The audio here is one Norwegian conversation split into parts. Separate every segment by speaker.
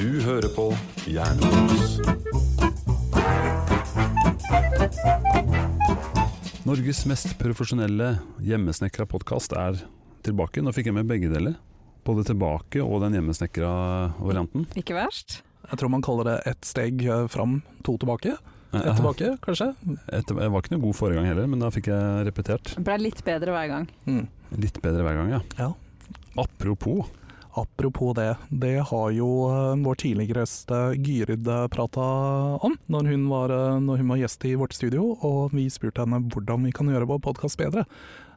Speaker 1: Du hører på Jernbanen.
Speaker 2: Norges mest profesjonelle hjemmesnekra podkast er tilbake. Nå fikk jeg med begge deler. Både tilbake og den hjemmesnekra varianten.
Speaker 3: Ikke verst.
Speaker 4: Jeg tror man kaller det ett steg eh, fram, to tilbake. Ett tilbake, kanskje.
Speaker 2: Etter, jeg var ikke noe god forrige gang heller, men da fikk jeg repetert.
Speaker 3: Ble litt bedre hver gang.
Speaker 4: Mm.
Speaker 2: Litt bedre hver gang, ja.
Speaker 4: Ja.
Speaker 2: Apropos,
Speaker 4: Apropos det, det har jo eh, vår tidligere gjest eh, Gyrid prata om når hun, var, eh, når hun var gjest i vårt studio, og vi spurte henne hvordan vi kan gjøre vår podkast bedre.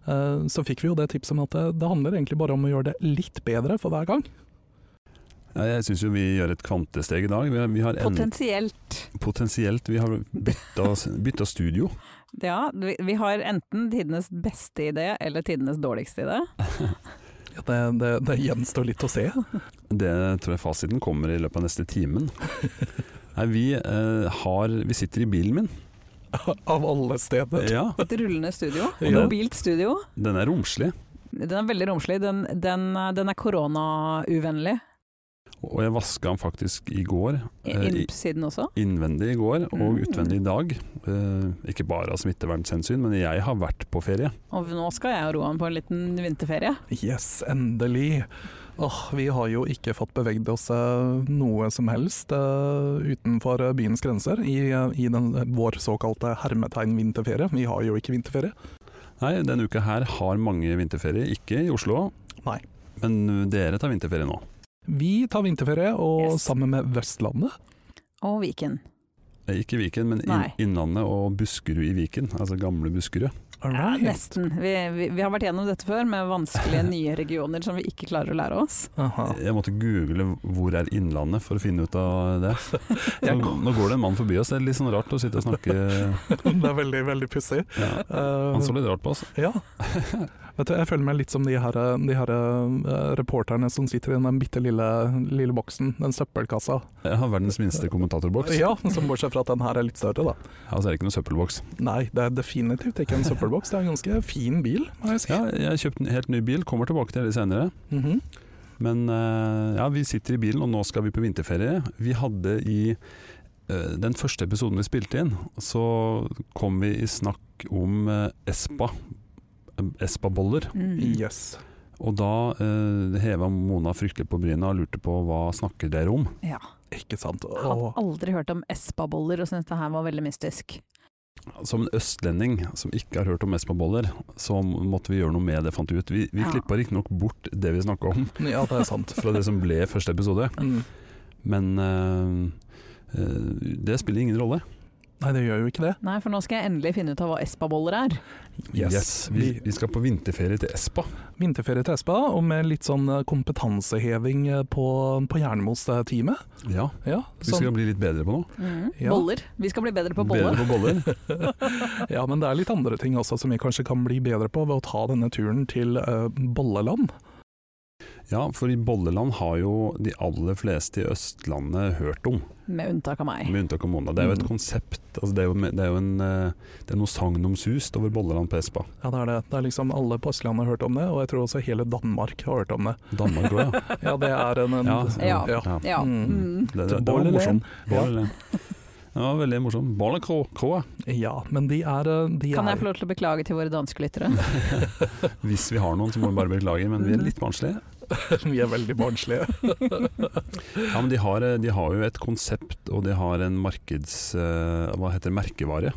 Speaker 4: Eh, Så fikk vi jo det tipset om at eh, det, det handler egentlig bare om å gjøre det litt bedre for hver gang.
Speaker 2: ja, jeg syns jo vi gjør et kvantesteg i dag. Vi, har- vi har en,
Speaker 3: Potensielt.
Speaker 2: potensielt vi har bytta, bytta studio.
Speaker 3: Ja, vi, vi har enten tidenes beste idé eller tidenes dårligste idé.
Speaker 4: Ja, Det, det, det gjenstår litt å se.
Speaker 2: Det tror jeg fasiten kommer i løpet av neste timen. Nei, vi, eh, har, vi sitter i bilen min.
Speaker 4: Av alle steder.
Speaker 2: Ja,
Speaker 3: Et rullende studio.
Speaker 2: Ja.
Speaker 3: Mobilt studio.
Speaker 2: den er romslig.
Speaker 3: Den er veldig romslig. Den, den, den er koronauvennlig.
Speaker 2: Og jeg vaska den faktisk i går. eh, i-
Speaker 3: Innsiden også.
Speaker 2: Innvendig i går og
Speaker 3: Mm.
Speaker 2: utvendig i dag. Eh, ikke bare av smittevernhensyn, men jeg har vært på ferie.
Speaker 3: Og nå skal jeg og Roan på en liten vinterferie.
Speaker 4: Yes, endelig. Åh, vi har jo ikke fått bevegd oss eh, noe som helst eh, utenfor eh, byens grenser i, eh, i den, vår såkalte hermetegn-vinterferie. Vi har jo ikke vinterferie.
Speaker 2: Nei, denne uka her har mange vinterferie. Ikke i Oslo.
Speaker 4: Nei.
Speaker 2: Men dere tar vinterferie nå.
Speaker 4: Vi tar vinterferie, og
Speaker 3: Yes.
Speaker 4: sammen med Vestlandet
Speaker 3: Og Viken.
Speaker 2: Eh, Ikke Viken, men inn,
Speaker 3: Nei.
Speaker 2: Innlandet og Buskerud i Viken. Altså gamle Buskerud.
Speaker 3: Ja,
Speaker 4: Alright.
Speaker 3: nesten. Vi, vi, vi har vært gjennom dette før med vanskelige nye regioner som vi ikke klarer å lære oss.
Speaker 4: Aha.
Speaker 2: Jeg måtte google 'hvor er Innlandet' for å finne ut av det. Nå, nå går det en mann forbi oss. Det er litt sånn rart å sitte og snakke
Speaker 4: Det er veldig, veldig pussig.
Speaker 2: ja.
Speaker 4: Eh,
Speaker 2: Han så litt rart på oss.
Speaker 4: Ja. Vet du, jeg føler meg litt som de her, de her eh, reporterne som sitter i den bitte lille, lille boksen, den søppelkassa.
Speaker 2: Jeg har verdens minste kommentatorboks.
Speaker 4: Ja, som bortsett fra at den her er litt større, da.
Speaker 2: Ja, så Altså, er det ikke noen søppelboks.
Speaker 4: Nei, det er definitivt ikke en søppelboks. Det er en ganske fin bil, må jeg si.
Speaker 2: Ja, jeg har kjøpt en helt ny bil, kommer tilbake til det senere.
Speaker 4: Mhm.
Speaker 2: Men eh, ja, vi sitter i bilen, og nå skal vi på vinterferie. Vi hadde i eh, den første episoden vi spilte inn, så kom vi i snakk om eh, Espa. eh, Espa-boller.
Speaker 3: Mm.
Speaker 4: Yes.
Speaker 2: Og da uh, heva Mona fryktelig på bryna og lurte på hva snakker dere om.
Speaker 3: Ja.
Speaker 4: Ikke sant.
Speaker 3: Hadde
Speaker 4: Åh,
Speaker 3: aldri hørt om Espa-boller og syntes det her var veldig mystisk.
Speaker 2: Som en østlending som ikke har hørt om Espa-boller, så måtte vi gjøre noe med det, fant vi ut. Vi, vi
Speaker 3: Ja.
Speaker 2: klippa riktignok bort det vi snakka om
Speaker 4: ja, det er sant.
Speaker 2: fra det som ble første episode,
Speaker 4: Mm.
Speaker 2: men eh, eh, det spiller ingen rolle.
Speaker 4: Nei, det gjør jo ikke det.
Speaker 3: Nei, for nå skal jeg endelig finne ut av hva Espa-boller er.
Speaker 2: Yes, vi,
Speaker 4: Vi,
Speaker 2: vi skal på vinterferie til Espa.
Speaker 4: vinterferie til Espa, og med litt sånn eh, kompetanseheving eh, på, på Jernmos-teamet.
Speaker 2: Ja,
Speaker 4: Ja,
Speaker 2: Vi skal
Speaker 4: sånn,
Speaker 2: bli litt bedre på noe.
Speaker 4: Ja.
Speaker 3: Mm. Boller. Vi skal bli bedre på boller.
Speaker 2: Bedre på boller.
Speaker 4: ja, men det er litt andre ting også som vi kanskje kan bli bedre på ved å ta denne turen til eh, Bolleland.
Speaker 2: Ja, for i Bolleland har jo de aller fleste i Østlandet hørt om,
Speaker 3: Med unntak av meg.
Speaker 2: med unntak av Mona. Det er jo et
Speaker 4: Mm.
Speaker 2: konsept. Altså det, er jo, det er jo en eh, Det er noe sagnomsust over Bolleland på Espa.
Speaker 4: Ja, det er det. Det er liksom alle på Østlandet har hørt om det, og jeg tror også hele Danmark har hørt om det.
Speaker 2: Danmark òg, ja.
Speaker 4: Ja, det er en, en
Speaker 3: Ja.
Speaker 4: ja.
Speaker 3: Ja.
Speaker 4: Mm.
Speaker 3: Mm.
Speaker 2: Det, det,
Speaker 4: Til
Speaker 2: det var
Speaker 4: Bolleland.
Speaker 2: morsomt.
Speaker 4: Ja.
Speaker 2: Bolleland. Det var veldig morsomt. Bollekrå,
Speaker 4: Ja, men de er, eh, de
Speaker 3: Kan
Speaker 4: er
Speaker 3: jeg få lov til å beklage til våre danske lyttere?
Speaker 2: hvis vi har noen, så må vi bare beklage, men vi er litt barnslige.
Speaker 4: Vi er veldig barnslige.
Speaker 2: Ja, men de har, eh, de har jo et konsept, og de har en markeds... eh, Hva heter det? Merkevare.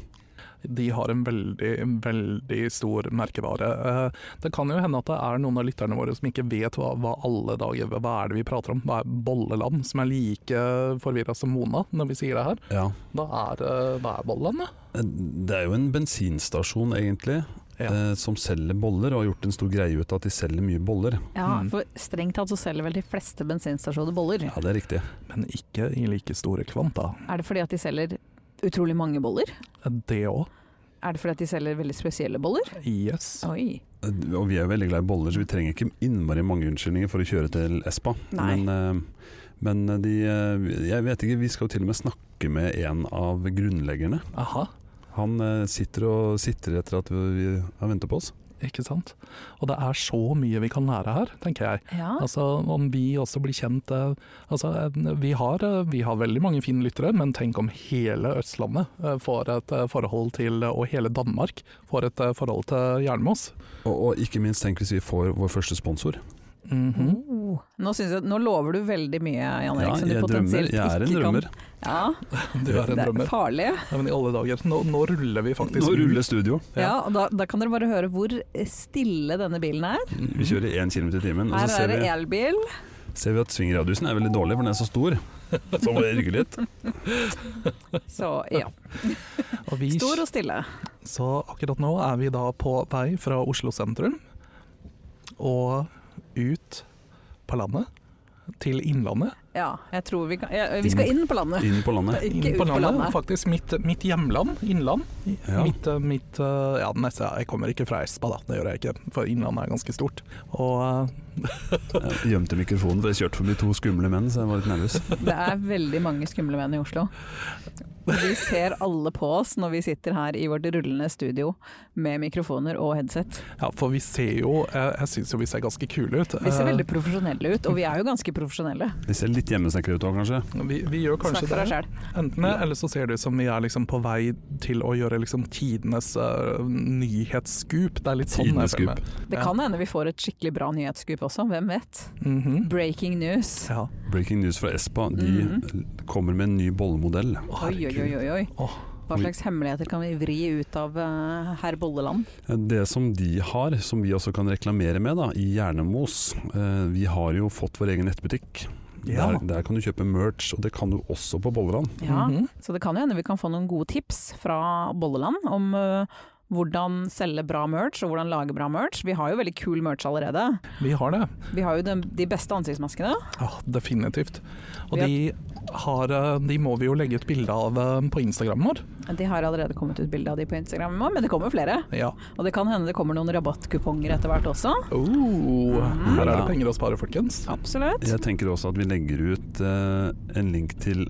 Speaker 4: De har en veldig, veldig stor merkevare. Eh, Det kan jo hende at det er noen av lytterne våre som ikke vet hva, hva alle dager Hva er det vi prater om? Hva er bolleland? Som er like forvirra som Mona når vi sier det her.
Speaker 2: Ja.
Speaker 4: Da er, eh, hva er bolleland, da?
Speaker 2: Det er jo en bensinstasjon, egentlig,
Speaker 4: Ja.
Speaker 2: eh, som selger boller, og har gjort en stor greie ut av at de selger mye boller.
Speaker 3: Ja,
Speaker 4: Mm.
Speaker 3: for strengt tatt så selger vel de fleste bensinstasjoner boller.
Speaker 2: Ja, det er riktig.
Speaker 4: Men ikke i like store kvanta.
Speaker 3: Er det fordi at de selger utrolig mange boller?
Speaker 4: Det òg.
Speaker 3: Er det fordi at de selger veldig spesielle boller?
Speaker 4: Yes.
Speaker 3: Oi.
Speaker 2: Eh, Og vi er jo veldig glad i boller, så vi trenger ikke innmari mange unnskyldninger for å kjøre til Espa.
Speaker 3: Nei.
Speaker 2: Men, eh, men de eh, Jeg vet ikke, vi skal jo til og med snakke med en av grunnleggerne.
Speaker 4: Aha.
Speaker 2: Han eh, sitter og sitter etter at vi har ventet på oss.
Speaker 4: Ikke sant? Og det er så mye vi kan lære her, tenker jeg.
Speaker 3: Ja.
Speaker 4: Altså, om vi også blir kjent eh, altså, eh, vi, har, eh, vi har veldig mange fine lyttere, men tenk om hele Østlandet eh, får et eh, forhold til Og hele Danmark får et eh, forhold til Jernmås.
Speaker 2: Og, og ikke minst tenk hvis vi får vår første sponsor.
Speaker 4: Mhm.
Speaker 3: Oh. Nå, synes jeg, nå lover du veldig mye, Jan
Speaker 2: Ja,
Speaker 3: Erik, som du
Speaker 2: jeg drømmer.
Speaker 3: potensielt
Speaker 2: Jeg er en
Speaker 3: ikke
Speaker 2: drømmer.
Speaker 3: kan. Ja,
Speaker 4: Du er en
Speaker 3: det er
Speaker 4: drømmer.
Speaker 3: farlig.
Speaker 4: Ja, men i alle dager, nå, nå ruller vi faktisk
Speaker 2: Nå
Speaker 4: ut.
Speaker 2: ruller studio.
Speaker 4: Ja.
Speaker 3: Ja, og da, da kan dere bare høre hvor stille denne bilen er.
Speaker 2: Vi kjører 1 km i timen. Og
Speaker 3: Her
Speaker 2: så ser
Speaker 3: er det
Speaker 2: vi,
Speaker 3: elbil.
Speaker 2: ser vi at svingradiusen er veldig dårlig, for den er så stor. Så må jeg rygge litt.
Speaker 3: Så ja,
Speaker 4: Og vi,
Speaker 3: stor og stille.
Speaker 4: så akkurat nå er vi da på vei fra Oslo sentrum og ut på landet til Innlandet.
Speaker 3: Ja, jeg tror vi kan ja, Vi skal inn på landet.
Speaker 2: Inn på landet.
Speaker 3: Ikke ut
Speaker 4: Inn
Speaker 3: på landet.
Speaker 4: Faktisk mitt, mitt hjemland, Innland. I-
Speaker 2: Ja.
Speaker 4: Mitt, eh, mitt eh, ja, nesten, ja, jeg kommer ikke fra Espa, da. Det gjør jeg ikke, for Innlandet er ganske stort. Og eh,
Speaker 2: Jeg gjemte mikrofonen, for jeg kjørte forbi to skumle menn, så jeg var litt nervøs.
Speaker 3: Det er veldig mange skumle menn i Oslo. De ser alle på oss når vi sitter her i vårt rullende studio med mikrofoner og headset.
Speaker 4: ja, for vi ser jo Jeg, jeg syns jo vi ser ganske kule ut.
Speaker 3: Vi ser
Speaker 4: Eh,
Speaker 3: veldig profesjonelle ut, og vi er jo ganske profesjonelle.
Speaker 2: Vi ser litt hjemmesnekre ut òg, kanskje.
Speaker 4: Eh, vi, vi gjør
Speaker 3: Snakk
Speaker 4: kanskje
Speaker 3: for deg
Speaker 4: det.
Speaker 3: sjæl.
Speaker 4: Enten det, eller så ser det ut som vi er liksom på vei til å gjøre liksom tidenes eh, nyhetsscoop. Det er litt sånn
Speaker 2: Tidenes
Speaker 4: jeg
Speaker 2: scoop.
Speaker 4: føler meg.
Speaker 3: Det
Speaker 4: Ja.
Speaker 3: kan hende vi får et skikkelig bra nyhetsskup også, hvem vet?
Speaker 4: Mhm.
Speaker 3: Breaking news.
Speaker 4: Ja.
Speaker 2: Breaking news fra Espa. De kommer med en ny bollemodell.
Speaker 4: Å,
Speaker 3: Oi, oi, oi,
Speaker 4: herregud.
Speaker 3: oi, oi.
Speaker 4: Åh.
Speaker 3: Hva slags hemmeligheter kan vi vri ut av eh, herr Bolleland?
Speaker 2: Det som de har, som vi også kan reklamere med da, i Hjernemos eh, Vi har jo fått vår egen nettbutikk.
Speaker 4: Ja.
Speaker 2: Der, der kan du kjøpe merch, og det kan du også på Bolleland.
Speaker 3: Ja,
Speaker 4: Mhm.
Speaker 3: Så det kan jo hende vi kan få noen gode tips fra Bolleland om eh, hvordan selge bra merch, og hvordan lage bra merch. Vi har jo veldig kul merch allerede.
Speaker 4: Vi har det.
Speaker 3: Vi har jo de, de beste ansiktsmaskene.
Speaker 4: Ja, definitivt.
Speaker 3: Vi
Speaker 4: Og
Speaker 3: har-
Speaker 4: de, har, eh, de må vi jo legge ut bilde av eh, på Instagram vår.
Speaker 3: De har allerede kommet ut bilde av de på Instagram, men det kommer flere.
Speaker 4: Ja.
Speaker 3: Og det kan hende det kommer noen rabattkuponger etter hvert også.
Speaker 4: Oh, her er
Speaker 2: Ja.
Speaker 4: det penger å spare, folkens.
Speaker 3: Absolutt.
Speaker 2: Jeg tenker også at vi legger ut eh, en link til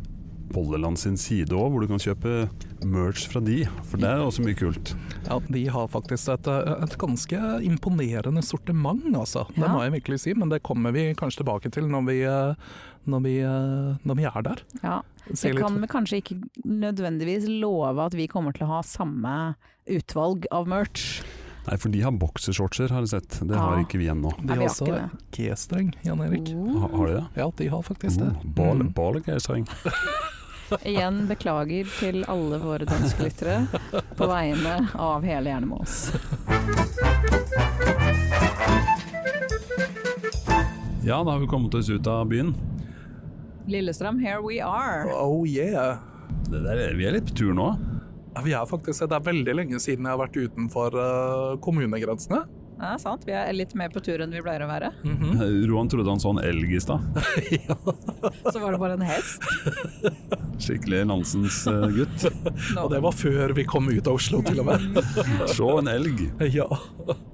Speaker 2: Bolleland sin side òg, hvor du kan kjøpe merch fra de. For det er også mye kult.
Speaker 4: Ja, de har faktisk et, eh, et ganske imponerende sortiment, altså. Det
Speaker 3: Ja.
Speaker 4: må jeg virkelig si, men det kommer vi kanskje tilbake til når vi, eh, når vi, eh, når vi er der.
Speaker 3: Ja.
Speaker 4: Se
Speaker 3: Vi
Speaker 4: litt-
Speaker 3: kan vel kanskje ikke nødvendigvis love at vi kommer til å ha samme utvalg av merch.
Speaker 2: Nei, for de har boksershortser, har jeg sett. Det
Speaker 3: Ja.
Speaker 2: har ikke vi ennå.
Speaker 4: De
Speaker 3: Nei, vi Oh.
Speaker 4: har
Speaker 3: har
Speaker 4: også
Speaker 3: ikke
Speaker 4: G-streng, Jan Erik.
Speaker 2: Ha, har de det?
Speaker 4: Ja, de har faktisk det.
Speaker 2: Oh, ball,
Speaker 4: Mm.
Speaker 2: ball, jeg sa ikke.
Speaker 3: Igjen beklager til alle våre danske lyttere på vegne av hele Jernemås.
Speaker 2: Ja, da har vi kommet oss ut av byen.
Speaker 3: Lillestrøm, here we are.
Speaker 4: Oh yeah!
Speaker 2: Det der, vi er litt på tur nå.
Speaker 4: Ja, Vi er faktisk, det er veldig lenge siden jeg har vært utenfor eh, kommunegrensene.
Speaker 3: Det er sant, vi er litt mer på tur enn vi pleier å være.
Speaker 2: Roan trodde han så en elg i stad.
Speaker 3: Så var det bare en hest.
Speaker 2: Skikkelig Nansens eh, gutt.
Speaker 4: Og det var før vi kom ut av Oslo, til og med.
Speaker 2: Se en elg.
Speaker 4: ja.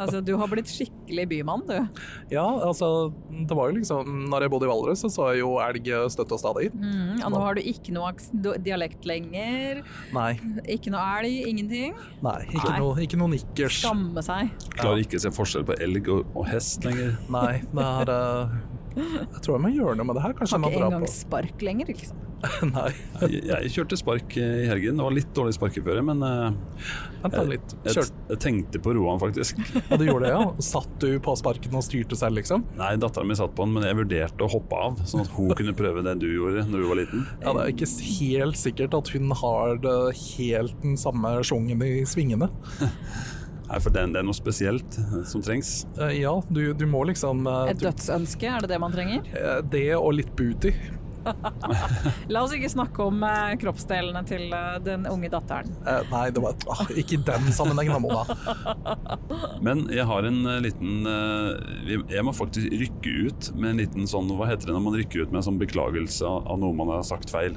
Speaker 3: Altså, du har blitt skikkelig bymann, du.
Speaker 4: ja, altså Det var jo liksom Når jeg bodde i Valdres, så så jeg jo elg støtt og stadig.
Speaker 3: Mm, og nå har du ikke noe aks- du- dialekt lenger.
Speaker 4: Nei.
Speaker 3: Ikke noe elg, ingenting.
Speaker 4: nei ikke,
Speaker 3: Nei.
Speaker 4: Noe, ikke noe nikkers.
Speaker 3: Skamme seg.
Speaker 2: Klarer ikke å se forskjell på elg og, og hest lenger.
Speaker 4: Nei, det er eh, Jeg tror jeg må gjøre noe med det her. Kanskje
Speaker 3: Har
Speaker 4: jeg må
Speaker 3: ikke
Speaker 4: dra
Speaker 3: engang
Speaker 4: på
Speaker 3: spark lenger, liksom.
Speaker 4: Nei,
Speaker 2: Jeg, jeg kjørte spark eh, i helgen. Det var litt dårlig sparkeføre, men eh,
Speaker 4: vent da litt.
Speaker 2: jeg,
Speaker 4: Kjør.
Speaker 2: jeg tenkte på Roan, faktisk.
Speaker 4: Ja, du gjorde det, ja? Satt du på sparken og styrte selv, liksom?
Speaker 2: Nei, dattera mi satt på den, men jeg vurderte å hoppe av, sånn at hun kunne prøve det du gjorde når du var liten.
Speaker 4: Ja, Det er ikke helt sikkert at hun har det helt den samme sjungen i svingene.
Speaker 2: Nei, for det, er- det er noe spesielt eh, som trengs.
Speaker 4: Eh, Ja, du, du må liksom eh,
Speaker 3: Et
Speaker 4: du,
Speaker 3: dødsønske, er det det man trenger?
Speaker 4: eh, Det og litt booty. Eh,
Speaker 3: La oss ikke snakke om eh, kroppsdelene til eh, den unge datteren.
Speaker 4: Eh, Nei, det var ah, ikke i den sammenhengen, da, Mona.
Speaker 2: Men jeg har en eh, liten eh, vi- Jeg må faktisk rykke ut med en liten sånn Hva heter det når man rykker ut med en sånn beklagelse av av noe man har sagt feil?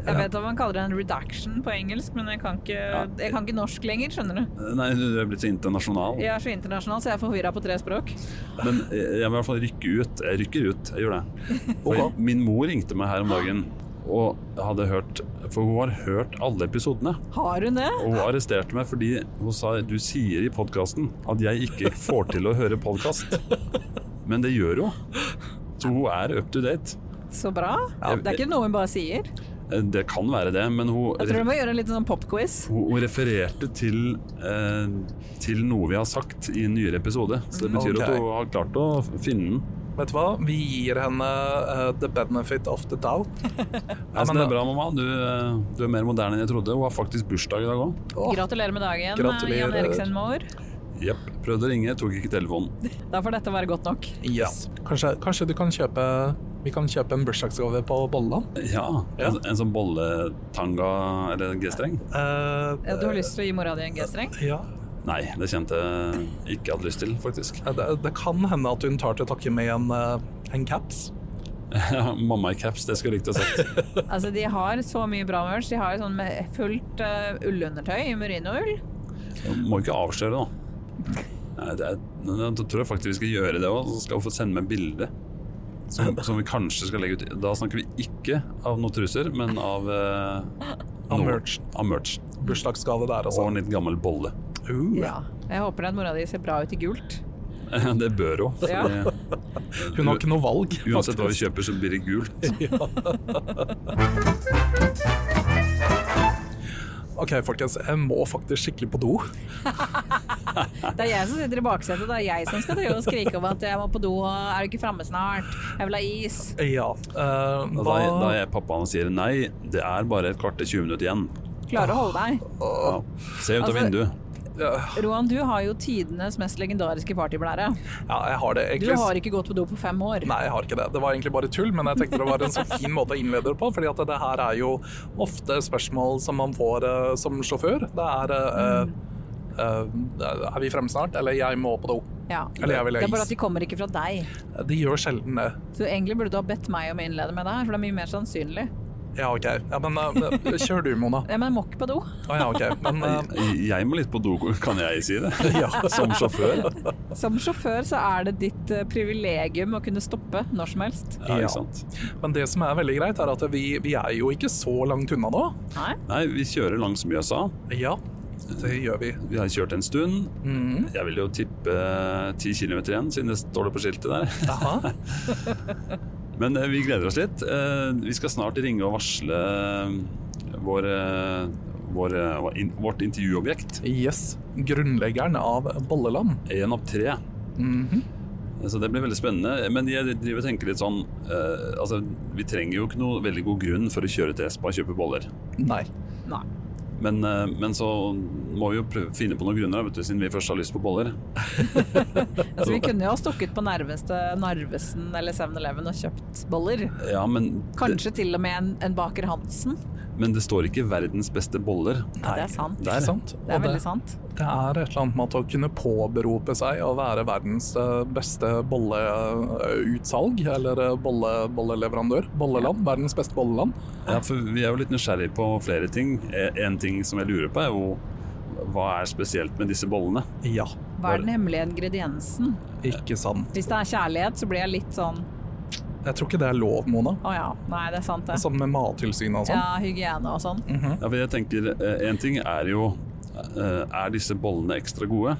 Speaker 3: Jeg vet at man kaller det en redaction på engelsk, men jeg kan ikke, jeg kan ikke norsk lenger, skjønner du.
Speaker 2: Eh, Nei, du du er blitt så internasjonal.
Speaker 3: Jeg er så internasjonal, så jeg er forvirra på tre språk.
Speaker 2: Men jeg jeg vil i hvert fall rykke ut. Jeg rykker ut, jeg gjør det. For
Speaker 4: Ok.
Speaker 2: Min mor ringte meg her om dagen og hadde hørt For hun har hørt alle episodene.
Speaker 3: Har hun det?
Speaker 2: Og hun arresterte meg fordi hun sa du sier i podkasten at jeg ikke får til å høre podkast. Men det gjør hun. Så hun er up to date. Eh,
Speaker 3: Så bra. Det er ikke noe hun bare sier.
Speaker 2: Det kan være det, men hun,
Speaker 3: Jeg tror hun må gjøre en liten sånn popquiz.
Speaker 2: hun, hun refererte til, eh, til noe vi har sagt i en nyere episode. Så det betyr
Speaker 4: Ok.
Speaker 2: at hun har klart å finne den.
Speaker 4: Vet du hva? Vi gir henne eh, the benefit of the doubt.
Speaker 2: Ja, men
Speaker 4: men
Speaker 2: det er
Speaker 4: da-
Speaker 2: bra, mamma. Du, eh, du er mer moderne enn jeg trodde. Hun har faktisk bursdag i dag òg.
Speaker 4: Åh,
Speaker 3: Gratulerer med dagen,
Speaker 4: Gratulerer.
Speaker 3: Jan Eriksen Moor.
Speaker 2: Jepp. Prøvde å ringe, tok ikke telefonen.
Speaker 3: Da får dette være godt nok.
Speaker 4: yes. kanskje, kanskje du kan kjøpe vi kan kjøpe en bursdagsgave på Bolleland?
Speaker 2: Ja, En, en sånn bolletanga eller G-streng?
Speaker 4: Eh,
Speaker 3: Ja, Du har lyst til å gi mora di en G-streng?
Speaker 4: ja.
Speaker 2: Nei, det kjente jeg ikke hadde lyst til, faktisk.
Speaker 4: Eh, Det, det kan hende at hun tar til takke med en, eh, en caps.
Speaker 2: Mamma i caps, det skulle jeg likt å sett.
Speaker 3: Altså, de har så mye bra merch. De har jo sånn med fullt eh, ullundertøy i merinoull.
Speaker 2: Må ikke avsløre, da. Nei, det er, nå- da tror jeg faktisk vi skal gjøre det òg. Så skal hun få sende meg bilde. Som, som vi kanskje skal legge ut. Da snakker vi ikke av noen truser, men av eh,
Speaker 4: Av
Speaker 2: noe-
Speaker 4: merch.
Speaker 2: Av merch.
Speaker 4: Bursdagsgave der, altså.
Speaker 2: Og en litt gammel bolle.
Speaker 4: Uh,
Speaker 3: Ja. Jeg håper at mora di ser bra ut i gult.
Speaker 2: Det bør hun.
Speaker 3: Ja.
Speaker 2: fordi-
Speaker 4: Hun har ikke noe valg.
Speaker 2: Uansett hva vi
Speaker 4: faktisk.
Speaker 2: kjøper, så blir det gult.
Speaker 4: OK, folkens. Jeg må faktisk skikkelig på do.
Speaker 3: Det er jeg som sitter i baksetet, det er jeg som skal drive og skrike om at jeg må på do, og er du ikke framme snart? Jeg vil ha is.
Speaker 4: Ja. eh,
Speaker 2: Og Da,
Speaker 4: hva-
Speaker 2: da er pappaen og sier nei, det er bare et kvarter 20 minutter igjen.
Speaker 3: Klarer å holde deg.
Speaker 2: Ja. Se ut av
Speaker 3: Altså-
Speaker 2: vinduet.
Speaker 4: ja,
Speaker 3: Roan, du har jo tidenes mest legendariske partyblære.
Speaker 4: jeg har det
Speaker 3: Du
Speaker 4: egentlig.
Speaker 3: har ikke gått på do på fem år.
Speaker 4: Nei, jeg har ikke det. Det var egentlig bare tull, men jeg tenkte det var en så fin måte å innlede det på. fordi at det her er jo ofte spørsmål som man får eh, som sjåfør. Det er eh, eh, Er vi fremme snart? Eller jeg må på do.
Speaker 3: Ja.
Speaker 4: Eller jeg vil
Speaker 3: Det
Speaker 4: ha
Speaker 3: er bare at
Speaker 4: is.
Speaker 3: de kommer ikke fra deg.
Speaker 4: De gjør sjelden det.
Speaker 3: Så egentlig burde du ha bedt meg om å innlede med det her, for det er mye mer sannsynlig.
Speaker 4: Ja, OK. Ja, men eh, kjør du, Mona.
Speaker 3: Ja, men jeg må ikke på do.
Speaker 4: Å ja, OK. Men eh,
Speaker 2: Jeg må litt på do, kan jeg si det?
Speaker 4: ja.
Speaker 2: Som sjåfør.
Speaker 3: Som sjåfør så er det ditt eh, privilegium å kunne stoppe når som helst.
Speaker 2: Ja,
Speaker 4: Ja.
Speaker 2: ikke sant?
Speaker 4: Men det som er veldig greit, er at vi, vi er jo ikke så langt unna nå.
Speaker 3: Nei?
Speaker 2: Nei, vi kjører langs Mjøsa.
Speaker 4: Ja, det gjør vi.
Speaker 2: Vi har kjørt en stund.
Speaker 4: Mhm.
Speaker 2: Jeg vil jo tippe 10 km igjen, siden det står det på skiltet der.
Speaker 4: Aha.
Speaker 2: Men eh, vi gleder oss litt. Eh, Vi skal snart ringe og varsle vår, eh, vår, eh, hva- in- vårt intervjuobjekt. E
Speaker 4: Yes. Grunnleggeren av Bolleland.
Speaker 2: Én av tre.
Speaker 4: Mhm.
Speaker 2: Så det blir veldig spennende. Men jeg driver og tenker litt sånn eh, Altså, vi trenger jo ikke noe veldig god grunn for å kjøre til Espa og kjøpe boller.
Speaker 4: Nei.
Speaker 3: Nei.
Speaker 2: Men, eh, men så må vi jo prøve, finne på noen grunner, vet du, siden vi først har lyst på boller.
Speaker 3: Altså, vi kunne jo ha stukket på nærmeste Narvesen eller 7-Eleven og kjøpt boller.
Speaker 2: Ja, men det,
Speaker 3: Kanskje til og med en, en baker Hansen.
Speaker 2: men det står ikke 'verdens beste boller'.
Speaker 3: Ja, det er sant.
Speaker 2: Der.
Speaker 4: Ikke sant?
Speaker 3: Det er
Speaker 4: Og
Speaker 3: veldig sant.
Speaker 4: Det er et eller annet med at å kunne påberope seg å være verdens eh, beste bolleutsalg, eller eh, bolle, bolleleverandør. Bolleland. Verdens beste bolleland.
Speaker 2: Ja, for vi er jo litt nysgjerrig på flere ting. Eh, En ting som jeg lurer på, er jo hva er spesielt med disse bollene?
Speaker 4: Ja,
Speaker 3: Hva er den hemmelige ingrediensen?
Speaker 4: ikke sant.
Speaker 3: Hvis det er kjærlighet, så blir jeg litt sånn
Speaker 4: Jeg tror ikke det er lov, Mona.
Speaker 3: Å ja, nei, det er sant det.
Speaker 4: Sånn med mattilsynet og sånn. Mhm.
Speaker 3: Ja, hygiene og sånn.
Speaker 2: Ja, for jeg tenker, eh, En ting er jo eh, Er disse bollene ekstra gode?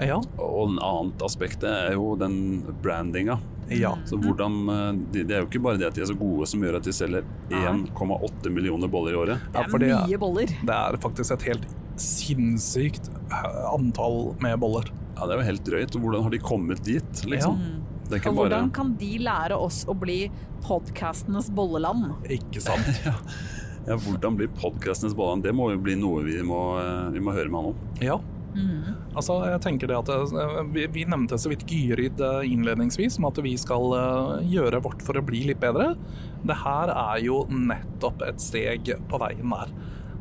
Speaker 4: Ja.
Speaker 2: Og en annet aspekt er jo den brandinga.
Speaker 4: ja.
Speaker 3: Mm.
Speaker 2: Så hvordan, eh, de- Det er jo ikke bare det at de er så gode som gjør at de selger 1,8 millioner boller i året.
Speaker 4: Ja,
Speaker 3: Det
Speaker 4: fordi-
Speaker 3: er mye boller.
Speaker 4: Det er faktisk et helt sinnssykt eh, antall med boller.
Speaker 2: Ja, Det er jo helt drøyt. og Hvordan har de kommet dit, liksom? Det er
Speaker 3: Og
Speaker 2: ikke bare
Speaker 3: hvordan kan de lære oss å bli podkastenes bolleland?
Speaker 4: Ikke sant?
Speaker 2: ja, hvordan blir podkastenes boller? Det må jo bli noe vi må, eh, vi må høre med han om.
Speaker 4: Ja.
Speaker 3: Mm.
Speaker 4: Altså, jeg tenker det at eh, vi, vi nevnte så vidt Gyrid eh, innledningsvis, om at vi skal eh, gjøre vårt for å bli litt bedre. Det her er jo nettopp et steg på veien der.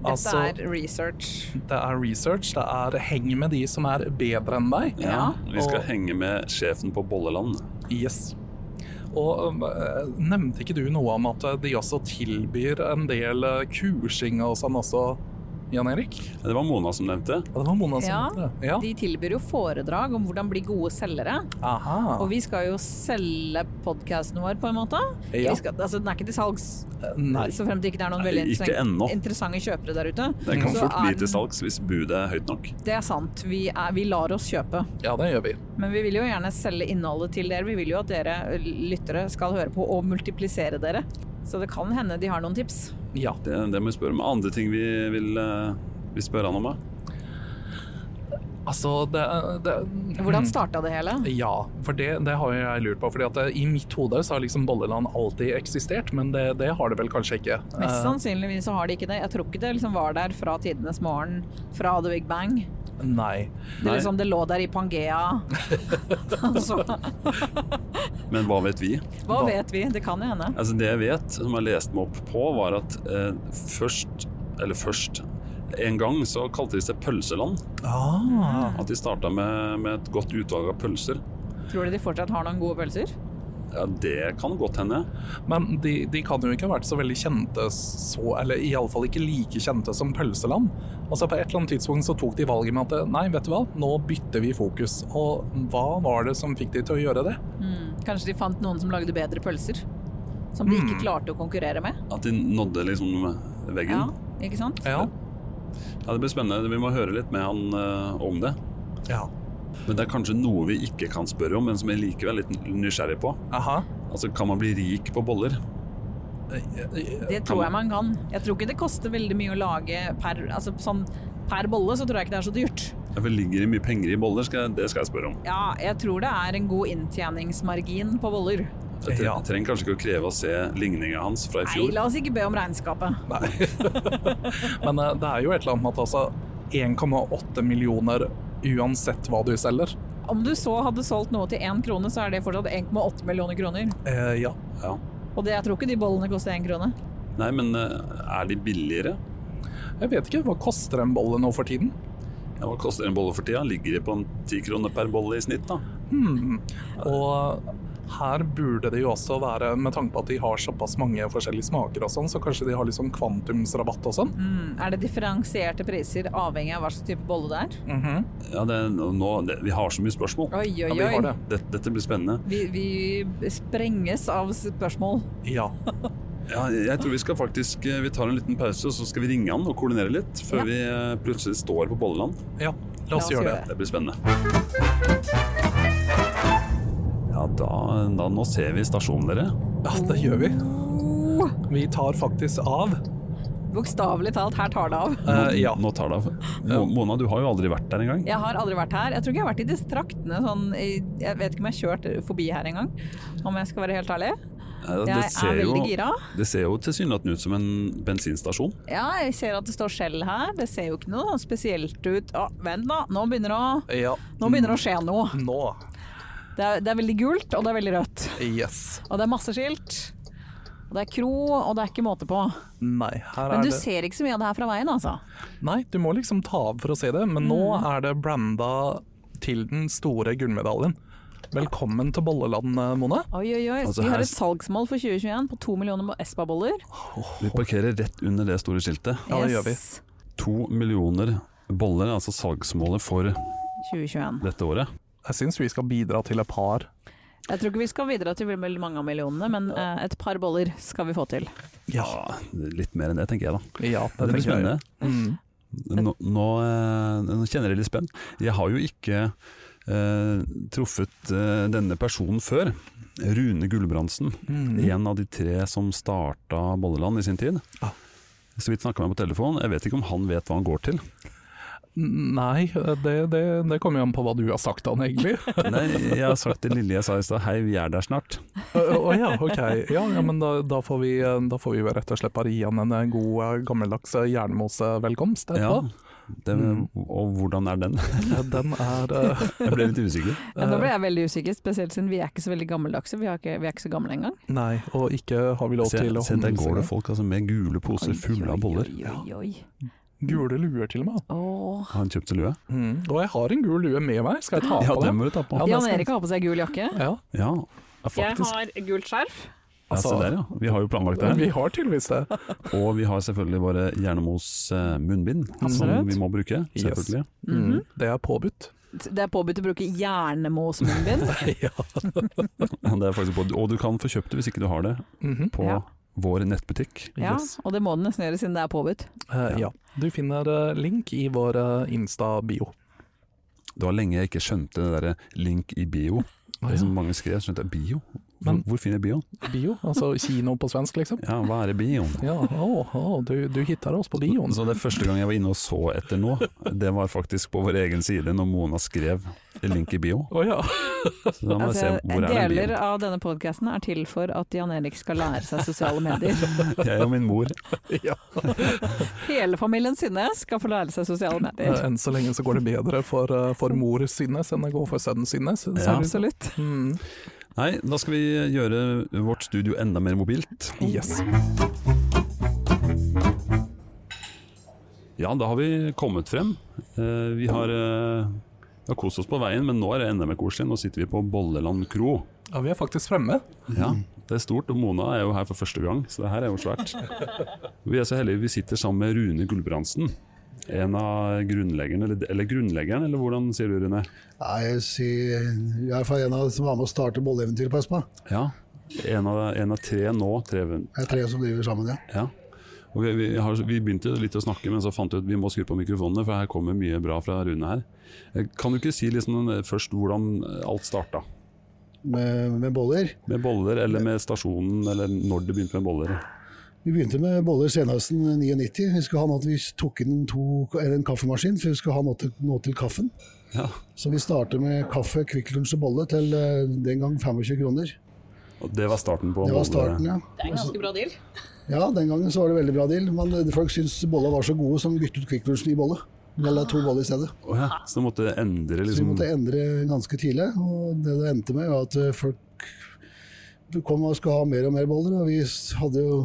Speaker 4: Altså,
Speaker 3: Dette er research.
Speaker 4: det er research, det er heng med de som er bedre enn deg.
Speaker 3: Ja.
Speaker 2: Vi skal
Speaker 4: Og-
Speaker 2: henge med sjefen på Bolleland.
Speaker 4: Yes. Og um, eh, nevnte ikke du noe om at eh, de også tilbyr en del eh, kursing og sånn også Jan Erik?
Speaker 2: Det var Mona som nevnte.
Speaker 4: Ja, det var Mona som
Speaker 3: Ja.
Speaker 4: gjorde det. Ja.
Speaker 3: De tilbyr jo foredrag om hvordan bli gode selgere.
Speaker 4: Aha.
Speaker 3: Og vi skal jo selge podkasten vår, på en måte.
Speaker 4: Ja.
Speaker 3: Vi skal, altså, den er ikke til salgs,
Speaker 4: Nei.
Speaker 3: så frem til ikke det er noen
Speaker 2: Nei,
Speaker 3: veldig
Speaker 2: ikke
Speaker 3: interessante,
Speaker 2: ennå.
Speaker 3: interessante kjøpere der ute.
Speaker 2: Den kan
Speaker 3: Så
Speaker 2: fort
Speaker 3: er
Speaker 2: bli
Speaker 3: den-
Speaker 2: til salgs hvis budet er høyt nok.
Speaker 3: Det er sant. Vi, er, vi lar oss kjøpe.
Speaker 4: Ja, det gjør vi.
Speaker 3: Men vi vil jo gjerne selge innholdet til dere. Vi vil jo at dere ø, lyttere skal høre på og multiplisere dere. Så det kan hende de har noen tips.
Speaker 4: Ja.
Speaker 2: Det, det må vi spørre om. Andre ting vi vil, eh, vi spør han om? da?
Speaker 4: Altså, det, det Mm.
Speaker 3: Hvordan starta det hele?
Speaker 4: Ja, for det, det har jo jeg lurt på. fordi at eh, I mitt hode så har liksom Bolleland alltid eksistert, men det, det har det vel kanskje ikke.
Speaker 3: Mest sannsynligvis så har de ikke det. Jeg tror ikke det liksom var der fra tidenes morgen, fra The Big Bang.
Speaker 4: Eh, Nei.
Speaker 3: Det,
Speaker 2: Nei.
Speaker 3: liksom, det lå der i Pangea. altså,
Speaker 2: Men hva vet vi?
Speaker 3: hva vet vi? Det kan jo hende.
Speaker 2: Altså Det jeg vet, som jeg leste meg opp på, var at eh, først Eller først En gang så kalte de seg Pølseland.
Speaker 4: Ah.
Speaker 2: At de starta med, med et godt utvalg av pølser.
Speaker 3: Tror du de fortsatt har noen gode pølser?
Speaker 2: Ja, Det kan godt hende.
Speaker 4: Men de, de kan jo ikke ha vært så veldig kjente så Eller iallfall ikke like kjente som Pølseland. Altså På et eller annet tidspunkt så tok de valget med at eh, nei, vet du hva, nå bytter vi fokus. Og hva var det som fikk de til å gjøre det?
Speaker 3: Mm. Kanskje de fant noen som lagde bedre pølser? Som de ikke
Speaker 4: Mm.
Speaker 3: klarte å konkurrere med?
Speaker 2: At de nådde liksom
Speaker 3: Ja,
Speaker 2: veggen.
Speaker 3: ikke sant?
Speaker 4: Ja.
Speaker 2: Ja. Det blir spennende. Vi må høre litt med han eh, om det.
Speaker 4: ja.
Speaker 2: Men det er kanskje noe vi ikke kan spørre om, men som jeg likevel er litt nysgjerrig på.
Speaker 4: Aha.
Speaker 2: Altså, Kan man bli rik på boller?
Speaker 3: Det tror jeg man kan. Jeg tror ikke det koster veldig mye å lage per, altså, sånn, per bolle, så tror jeg ikke det er så dyrt.
Speaker 2: Derfor ligger det mye penger i boller, skal jeg, det skal jeg spørre om.
Speaker 3: Ja, jeg tror det er en god inntjeningsmargin på boller.
Speaker 2: Jeg tre-
Speaker 4: Ja.
Speaker 2: trenger kanskje ikke å kreve å se ligninga hans fra i
Speaker 3: Nei,
Speaker 2: fjor.
Speaker 3: la oss ikke be om regnskapet.
Speaker 4: Nei. Men eh, det er jo et eller annet med at altså 1,8 millioner uansett hva du selger.
Speaker 3: Om du så hadde solgt noe til én krone, så er det fortsatt 1,8 millioner kroner.
Speaker 4: Eh, ja.
Speaker 2: Ja.
Speaker 3: Og det, jeg tror ikke de bollene koster én krone.
Speaker 2: Nei, men eh, er de billigere?
Speaker 4: Jeg vet ikke, hva koster en bolle nå for tiden?
Speaker 2: Ja, hva koster en bolle for tida? Ligger de på en ti kroner per bolle i snitt, da?
Speaker 4: Hmm. Og her burde det jo også være, med tanke på at de har såpass mange forskjellige smaker og sånn, så kanskje de har liksom kvantumsrabatt og sånn.
Speaker 3: Mm. Er det differensierte priser avhengig av hva slags type bolle det er?
Speaker 4: Mhm.
Speaker 2: Ja, det, er nå, det, Vi har så mye spørsmål.
Speaker 3: Oi, oi,
Speaker 4: Ja, vi har
Speaker 3: oi.
Speaker 4: det.
Speaker 2: Dette, dette blir spennende.
Speaker 3: Vi, vi sprenges av spørsmål.
Speaker 4: Ja.
Speaker 2: Ja, jeg tror vi skal faktisk eh, Vi tar en liten pause, og så skal vi ringe han og koordinere litt. Før
Speaker 3: Ja.
Speaker 2: vi eh, plutselig står på Bolleland.
Speaker 4: ja. La oss gjøre det.
Speaker 2: Det blir spennende. Ja, da, da Nå ser vi stasjonen, dere.
Speaker 4: Ja, det gjør vi.
Speaker 3: Oh,
Speaker 4: Vi tar faktisk av.
Speaker 3: Bokstavelig talt, her tar det av.
Speaker 2: Nå,
Speaker 4: Eh, ja.
Speaker 2: nå tar det av. Mo- Mona, du har jo aldri vært der engang.
Speaker 3: Jeg har aldri vært her. Jeg tror ikke jeg har vært i disse traktene sånn i- Jeg vet ikke om jeg har kjørt forbi her engang, om jeg skal være helt ærlig.
Speaker 2: Ja, Eh, det,
Speaker 3: Jeg er
Speaker 2: ser jo,
Speaker 3: veldig gira.
Speaker 2: det ser jo tilsynelatende ut som en bensinstasjon.
Speaker 3: Ja, jeg ser at det står skjell her. Det ser jo ikke noe spesielt ut. Å, vent da, nå begynner det å
Speaker 4: Ja.
Speaker 3: nå begynner det å skje noe.
Speaker 4: Nå.
Speaker 3: Det er, det er veldig gult, og det er veldig rødt.
Speaker 4: Yes.
Speaker 3: Og det er masse skilt. Og det er kro, og det er ikke måte på.
Speaker 4: Nei, her
Speaker 3: Men
Speaker 4: er
Speaker 3: du
Speaker 4: det
Speaker 3: ser ikke så mye av det her fra veien, altså.
Speaker 4: Nei, du må liksom ta av for å se det, men nå
Speaker 2: Mm.
Speaker 4: er det branda til den store gullmedaljen. Velkommen til Bolleland, eh, Mone.
Speaker 3: Oi, oi, oi.
Speaker 2: Altså,
Speaker 3: Vi
Speaker 2: her-
Speaker 3: har et salgsmål for 2021 på to millioner Espa-boller.
Speaker 2: Vi parkerer rett under det store skiltet.
Speaker 4: Ja, det gjør vi.
Speaker 3: Yes.
Speaker 2: To millioner boller, altså salgsmålet for
Speaker 3: 2021.
Speaker 2: dette året.
Speaker 4: Jeg syns vi skal bidra til et par.
Speaker 3: Jeg tror ikke vi skal videre til veldig mange av millionene, men eh, et par boller skal vi få til.
Speaker 4: Ja,
Speaker 2: Litt mer enn det, tenker jeg da.
Speaker 4: ja
Speaker 2: Det, blir
Speaker 4: tenker jeg.
Speaker 2: spennende.
Speaker 4: Mm.
Speaker 2: Nå, nå, eh, nå kjenner jeg litt spenn. Jeg har jo ikke eh, truffet eh, denne personen før. Rune Gulbrandsen,
Speaker 4: Mm.
Speaker 2: en av de tre som starta Bolleland i sin tid.
Speaker 4: Ah.
Speaker 2: Så vidt snakka med på telefon. Jeg vet ikke om han vet hva han går til.
Speaker 4: Nei, det, det, det kommer jo an på hva du har sagt han egentlig.
Speaker 2: Nei, jeg har sagt til Lille jeg sa i stad hei, vi er der snart.
Speaker 4: Å å ja, ok. Ja, ja men da, da, får vi, eh, da får vi jo rett og slett bare gi han en god eh, gammeldags jernmosevelkomst
Speaker 2: Ja,
Speaker 4: etterpå.
Speaker 2: det,
Speaker 4: Mm.
Speaker 2: og hvordan er den?
Speaker 4: Eh, Den er eh,
Speaker 2: Jeg ble litt usikker.
Speaker 3: Ja, nå ble jeg veldig usikker, spesielt siden vi er ikke så veldig gammeldagse. Vi, har ikke, vi er ikke så gamle engang.
Speaker 4: Nei, og ikke har vi lov
Speaker 2: Se,
Speaker 4: til å
Speaker 2: se, der går
Speaker 4: håndse-
Speaker 2: det folk altså, med gule poser fulle av boller.
Speaker 3: Oi, oi, oi, oi.
Speaker 4: Gule luer til og med.
Speaker 3: Åh.
Speaker 2: Har han kjøpt seg lue?
Speaker 4: Mm. Og jeg har en gul lue med meg, skal jeg ta
Speaker 2: Ja,
Speaker 4: på
Speaker 2: den
Speaker 4: den?
Speaker 2: må du ta på.
Speaker 4: Ja, det
Speaker 3: Jan
Speaker 4: skal-
Speaker 3: Erik har på seg gul jakke.
Speaker 4: Ja,
Speaker 2: Ja, faktisk.
Speaker 3: har gult skjerf.
Speaker 2: se der, ja. Vi har jo planlagt det her.
Speaker 4: Altså, Vi har tydeligvis det.
Speaker 2: Og vi har selvfølgelig våre Jernemos eh, munnbind, som
Speaker 3: Absolutt.
Speaker 2: vi må bruke.
Speaker 4: Yes.
Speaker 2: selvfølgelig.
Speaker 3: Mhm.
Speaker 4: Mm. Det er påbudt.
Speaker 3: Det er påbudt å bruke hjernemos munnbind.
Speaker 4: ja.
Speaker 2: Det er faktisk på, og du kan få kjøpt det hvis ikke du har det,
Speaker 4: Mhm.
Speaker 2: på
Speaker 3: Ja.
Speaker 2: vår nettbutikk.
Speaker 3: Ja,
Speaker 4: Yes.
Speaker 3: og det må den nesten gjøre siden det er påbudt.
Speaker 4: Eh, ja. Du finner eh, link i vår eh, Insta-bio.
Speaker 2: Det var lenge jeg ikke skjønte det derre link i bio. Det som mange skrev, skjønte jeg bio. Hvor,
Speaker 4: Men-
Speaker 2: hvor finner jeg bioen?
Speaker 4: Bio, altså kino på svensk, liksom.
Speaker 2: Ja, hva er det bioen?
Speaker 4: Ja, å, å, du, du hittar oss på bioen.
Speaker 2: Så det første gang jeg var inne og så etter nå, det var faktisk på vår egen side når Mona skrev link i bio.
Speaker 4: Å ja.
Speaker 2: Så da må jeg se
Speaker 3: Altså,
Speaker 2: hvor er den
Speaker 3: deler
Speaker 2: bioen.
Speaker 3: av denne podkasten er til for at Jan Erik skal lære seg sosiale medier.
Speaker 2: Jeg og min mor.
Speaker 4: ja.
Speaker 3: Hele familien Synnes skal få lære seg sosiale medier.
Speaker 4: Eh, Enn så lenge så går det bedre for, eh, for mor Synnes enn det går for sønnen Synnes.
Speaker 2: Ja.
Speaker 3: Absolutt.
Speaker 4: Mm.
Speaker 2: Nei, da skal vi gjøre vårt studio enda mer mobilt.
Speaker 4: Yes.
Speaker 2: Mm. Ja, da har vi kommet frem. Eh, vi har, eh, vi har kost oss på veien, men nå er det enda mer koselig. Nå sitter vi på Bolleland kro.
Speaker 4: Ja, vi er faktisk fremme.
Speaker 2: Ja, det er stort, og Mona er jo her for første gang, så det her er jo svært. Vi er så heldige vi sitter sammen med Rune Gulbrandsen. En av grunnleggerne, eller, eller grunnleggeren, eller hvordan sier du, Rune?
Speaker 5: Nei, jeg sier, jeg er i hvert fall en av de som var med å starte bolleeventyret på Espa.
Speaker 2: Ja. En av, en av tre nå, tre,
Speaker 5: Det er tre som driver sammen, ja.
Speaker 2: Ja. Og vi, vi, har, vi begynte litt å snakke, men så fant vi ut at vi må skru på mikrofonene, for her kommer mye bra fra Rune her. Eh, Kan du ikke si liksom eh, først hvordan eh, alt starta?
Speaker 5: Med, med boller.
Speaker 2: Med boller, eller med stasjonen, eller når det begynte med boller?
Speaker 5: Vi begynte med boller senhøsten 99. Vi skulle ha noe at vi tok inn to, eller en kaffemaskin, for vi skulle ha noe til, noe til kaffen.
Speaker 2: Ja.
Speaker 5: Så vi startet med kaffe, Kvikk Lunsj og bolle til eh, den gang 25 kroner.
Speaker 2: Og det var starten på
Speaker 5: Det var starten, ja.
Speaker 3: Det er en ganske bra deal.
Speaker 5: Ja, den gangen så var det veldig bra deal, men eh, folk syntes bolla var så gode som byttet ut Kvikk Lunsjen i bolle. Eller to boller i stedet.
Speaker 2: Å ja. Så du måtte endre
Speaker 5: Så vi
Speaker 2: liksom
Speaker 5: måtte endre ganske tidlig, og det det endte med var at eh, folk kom og skulle ha mer og mer boller, og vi s- hadde jo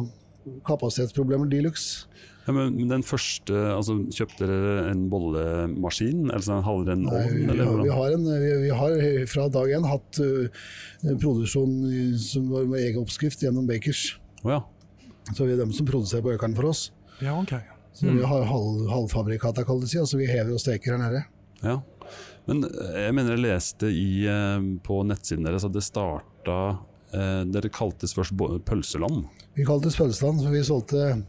Speaker 5: kapasitetsproblemer de luxe.
Speaker 2: ja, men men den første altså, Kjøpte dere en bollemaskin? Altså hadde dere en
Speaker 5: Nei,
Speaker 2: ovn?
Speaker 5: vi,
Speaker 2: eller
Speaker 5: har- vi,
Speaker 2: hvordan?
Speaker 5: har en, vi, vi har fra dag én hatt eh, en produksjon i- som var med egen oppskrift gjennom Bakers.
Speaker 2: Å ja.
Speaker 5: Så vi er dem som produserer på Økeren for oss.
Speaker 4: Ja, ok.
Speaker 5: Så vi har halv, halvfabrikata, kalles det, altså vi hever og steker her nede.
Speaker 2: ja. Men eh, jeg mener jeg leste i, eh, på nettsiden deres at det starta eh, Dere kaltes først bo- Pølseland.
Speaker 5: Vi kaltes Pølseland, for vi solgte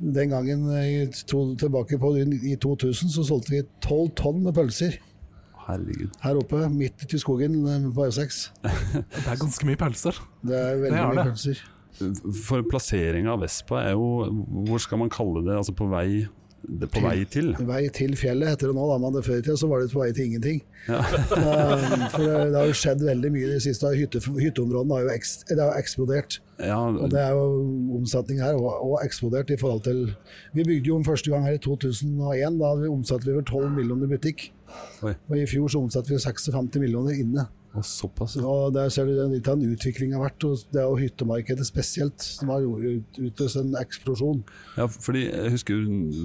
Speaker 5: den gangen eh, i to, tilbake på, i 2000 så solgte vi 12 tonn med pølser.
Speaker 2: Herregud.
Speaker 5: her oppe, midt ute i skogen eh, på E6.
Speaker 4: Det er ganske mye pølser.
Speaker 5: Det er veldig
Speaker 4: Det er
Speaker 5: mye
Speaker 4: det.
Speaker 5: pølser.
Speaker 2: For plasseringa av Vespa er jo Hvor skal man kalle det? Altså på vei, det er på vei til?
Speaker 5: Vei til fjellet heter det nå, da, men det før i tida så var det på vei til ingenting. Eh, For det, det har jo skjedd veldig mye i det siste. Hytte, hytteområdene har jo eks, det har jo eksplodert.
Speaker 2: Ja,
Speaker 5: Og det er jo omsetning her, og, og eksplodert i forhold til Vi bygde jo om første gang her i 2001. Da hadde vi omsatte vi over 12 millioner i butikk.
Speaker 2: Oi.
Speaker 5: Og i fjor så omsatte vi 56 millioner inne.
Speaker 2: og såpass, ja.
Speaker 5: Og der ser du den- litt av den utviklingen har vært. Og det er jo hyttemarkedet spesielt som har jo ut- utløst en eksplosjon.
Speaker 2: ja. Fordi jeg husker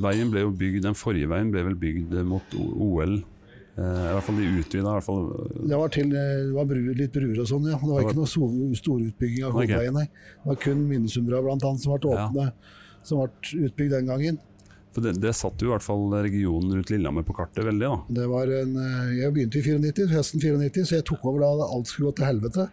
Speaker 2: veien ble jo bygd Den forrige veien ble vel bygd mot O- OL. Eh, I hvert fall de utvida, i hvert fall
Speaker 5: Det var, til, det var bru, litt bruer og sånn, ja. Det var ikke noe so storutbygging av
Speaker 2: Ok.
Speaker 5: hovedveien, nei. Det var kun Minnesundbrua blant annet som ble
Speaker 2: Ja.
Speaker 5: åpne, som ble utbygd den gangen.
Speaker 2: For det, det satte jo i hvert fall regionen rundt Lillehammer på kartet veldig, da.
Speaker 5: Det var en, eh, jeg begynte i 94, høsten 94, så jeg tok over da alt skulle gå til helvete.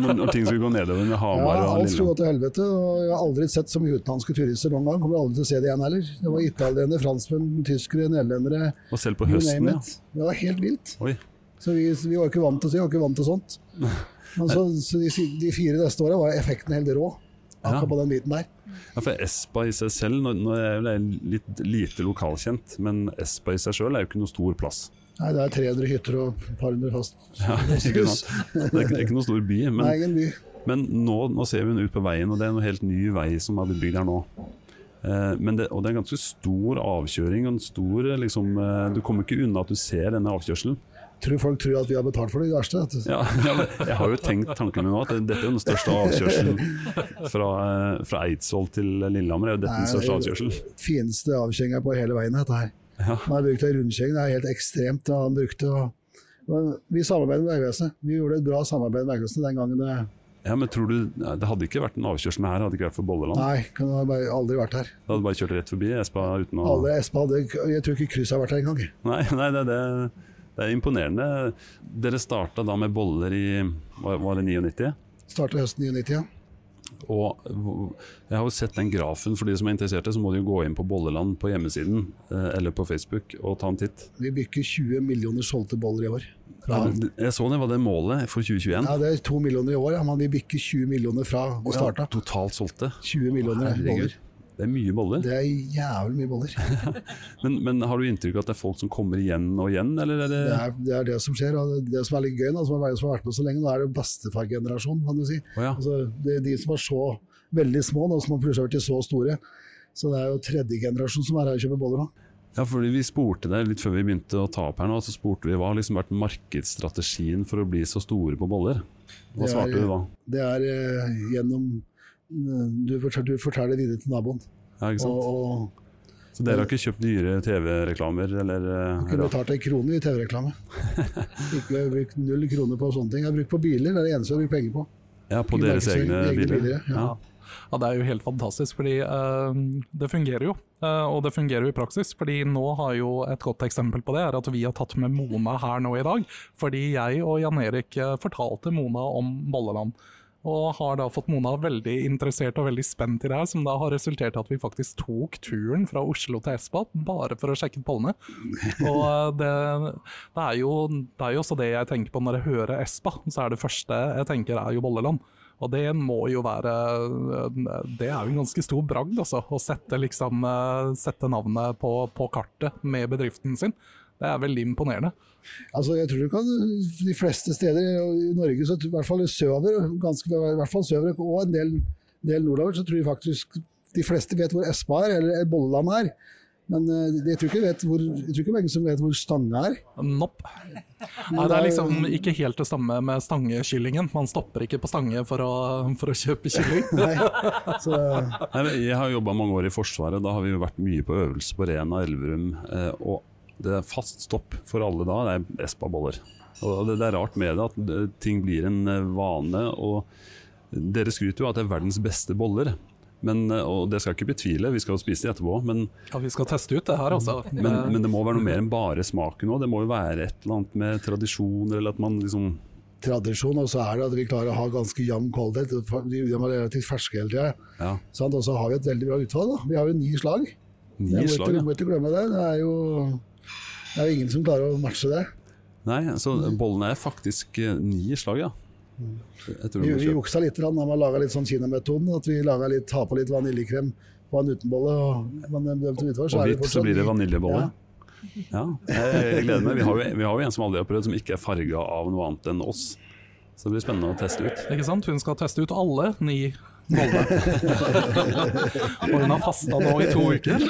Speaker 2: Når, når ting skulle gå nedover med
Speaker 5: Ja,
Speaker 2: Hamar og
Speaker 5: alt skulle
Speaker 2: Lillehammer.
Speaker 5: gå til helvete, og jeg har aldri sett så mye utenlandske turister noen gang. Kommer aldri til å se det igjen heller. Det var italienere, franskmenn, tyskere, nederlendere,
Speaker 2: Og selv på
Speaker 5: you
Speaker 2: høsten, ja.
Speaker 5: name it. Det var helt vilt.
Speaker 2: Oi.
Speaker 5: Så vi, vi var ikke vant til det, vi var ikke vant til sånt. Men så, så de, de fire neste åra var effekten helt rå. Akkurat
Speaker 2: Ja.
Speaker 5: på den biten der.
Speaker 2: Ja, for Espa i seg selv, nå, nå er jeg jo litt lite lokalkjent, men Espa i seg sjøl er jo ikke noe stor plass.
Speaker 5: Nei, det er 300 hytter og et par hundre fast.
Speaker 2: Ja, ikke sant? Det er ikke, det er ikke noe stor by,
Speaker 5: Det
Speaker 2: men,
Speaker 5: er ingen by.
Speaker 2: men nå, nå ser vi den ut på veien, og det er en helt ny vei som har blitt bygd her nå. Eh, men det, og det er en ganske stor avkjøring. og En stor, eh, liksom, eh, du kommer ikke unna at du ser denne avkjørselen.
Speaker 5: Tror folk tror at vi har betalt for det, det verste. vet du.
Speaker 2: Ja, ja, men jeg har jo tenkt tanken min nå at dette er jo den største avkjørselen fra, eh, fra Eidsvoll til Lillehammer. er jo dette den største
Speaker 5: Nei,
Speaker 2: avkjørselen.
Speaker 5: Fineste avkjenga på hele veien, dette her.
Speaker 2: Ja.
Speaker 5: Han har brukt ei rundkjeng, det er helt ekstremt hva han brukte. Og, men vi samarbeider med Vegvesenet. Vi gjorde et bra samarbeid med Vegvesenet den gangen eh, det
Speaker 2: Ja, men tror du, Det hadde ikke vært en avkjørsel her, hadde det ikke vært for Bolleland.
Speaker 5: Nei, kunne ha bare aldri vært her.
Speaker 2: Det hadde bare kjørt rett forbi Espa uten å
Speaker 5: Alle Espa hadde, jeg tror ikke krysset har vært her engang.
Speaker 2: Nei, nei det, det, det er imponerende. Dere starta da med boller i var var det 99?
Speaker 5: Startet høsten 99, ja.
Speaker 2: Og hvor- jeg har jo sett den grafen. For de som er interesserte, så må de jo gå inn på Bolleland på hjemmesiden eh, eller på Facebook og ta en titt.
Speaker 5: Vi bykker 20 millioner solgte boller i år.
Speaker 2: Ja. Jeg så det var det målet for 2021.
Speaker 5: Ja, det er to millioner i år, ja, men vi bykker 20 millioner fra vi starta.
Speaker 2: Totalt solgte.
Speaker 5: 20 millioner
Speaker 2: Herregud.
Speaker 5: boller.
Speaker 2: Det er mye boller.
Speaker 5: Det er jævlig mye boller.
Speaker 2: Men, men har du inntrykk av at det er folk som kommer igjen og igjen, eller er det
Speaker 5: Det er, det er det som skjer. og Det som er litt gøy, nå, som har, som har vært med så lenge, nå er det bestefargenerasjon, kan du si.
Speaker 2: Å ja.
Speaker 5: Altså, det er de som var så veldig små, nå som har plutselig har blitt så store. Så det er jo tredje generasjon som er her og kjøper boller nå.
Speaker 2: Ja, fordi vi spurte deg litt før vi begynte å ta opp her nå, så spurte vi hva har liksom vært markedsstrategien for å bli så store på boller? Hva
Speaker 5: Det er-
Speaker 2: svarte du da?
Speaker 5: Det er eh, gjennom eh, du forteller, du forteller det videre til naboen.
Speaker 2: Ja, ikke
Speaker 5: Og,
Speaker 2: sant?
Speaker 5: og
Speaker 2: Så dere har ikke kjøpt dyre TV-reklamer eller eh,
Speaker 5: kunne
Speaker 2: ra-
Speaker 5: betalt en krone i TV-reklame. Ikke jeg har brukt null kroner på sånne ting. Jeg har brukt på biler, det er det eneste jeg har brukt penger på.
Speaker 2: ja, på
Speaker 5: kunne
Speaker 2: deres
Speaker 5: markedsføring-
Speaker 2: egne
Speaker 5: egne
Speaker 2: biler?
Speaker 5: biler, ja.
Speaker 2: Ja.
Speaker 4: Ja, Det er jo helt fantastisk, fordi eh, det fungerer jo. Eh, og det fungerer jo i praksis. fordi nå har jo et godt eksempel på det, er at vi har tatt med Mona her nå i dag. Fordi jeg og Jan Erik eh, fortalte Mona om Bolleland. Og har da fått Mona veldig interessert og veldig spent i det her, som da har resultert i at vi faktisk tok turen fra Oslo til Espa bare for å sjekke ut bollene. Og eh, det, det, er jo, det er jo også det jeg tenker på når jeg hører Espa, så er det første jeg tenker er jo Bolleland. Og det må jo være eh, Det er jo en ganske stor bragd, altså. Å sette, liksom, eh, sette navnet på, på kartet med bedriften sin. Det er veldig imponerende.
Speaker 5: Altså, jeg tror du kan de fleste steder i Norge, så, i hvert fall sørover, ganske, i hvert fall sørover og en del, del nordover, så tror jeg faktisk de fleste vet hvor Espa er, eller Bolleland er. Men eh, jeg tror ikke, vet hvor, jeg tror ikke mange som vet hvor Stange er.
Speaker 4: Nopp. Nei, det er liksom ikke helt det samme med stangekyllingen. Man stopper ikke på Stange for å, for å kjøpe kylling.
Speaker 5: Nei. Så,
Speaker 2: Nei, men jeg har jobba mange år i Forsvaret. Da har vi jo vært mye på øvelse på Rena, Elverum. eh, Og det er fast stopp for alle da, det er Espa-boller. Og det, det er rart med det at eh, ting blir en eh, vane. Og dere skryter jo at det er verdens beste boller. Men, eh, og det skal jeg ikke betvile, vi skal jo spise de etterpå. Men,
Speaker 4: Ja, vi skal teste ut det her, altså.
Speaker 2: men, men det må være noe mer enn bare smaken òg. Det må jo være et eller annet med tradisjoner, eller at man liksom
Speaker 5: tradisjon, og så er det at vi klarer å ha ganske jevn kvalitet. De, de er relativt ferske hele tida.
Speaker 2: Ja,
Speaker 5: Sant? Og så har vi et veldig bra utvalg. Da. Vi har jo ni slag.
Speaker 2: ni
Speaker 5: Jeg må
Speaker 2: slag.
Speaker 5: ikke,
Speaker 2: Ja.
Speaker 5: må ikke glemme det. Det er jo det er jo ingen som klarer å matche det.
Speaker 2: Nei, så bollene er faktisk eh, ni slag, ja. Jeg tror vi må
Speaker 5: Vi, vi
Speaker 2: kjøpe-
Speaker 5: juksa litt da man laga litt sånn kinametoden. At vi laget litt, ta på litt vaniljekrem på en utenbolle. Og, men eh, det- det- utover, så
Speaker 2: Og
Speaker 5: er det
Speaker 2: vips,
Speaker 5: fortsatt
Speaker 2: så blir det
Speaker 5: i-
Speaker 2: vaniljebolle.
Speaker 5: Ja.
Speaker 2: Ja, jeg, jeg gleder meg. Vi har, jo, vi har jo en som aldri har prøvd, som ikke er farga av noe annet enn oss. Så det blir spennende å teste ut.
Speaker 4: Eh, Ikke sant? Hun skal teste ut alle ni boller. Og hun har fasta nå i to uker.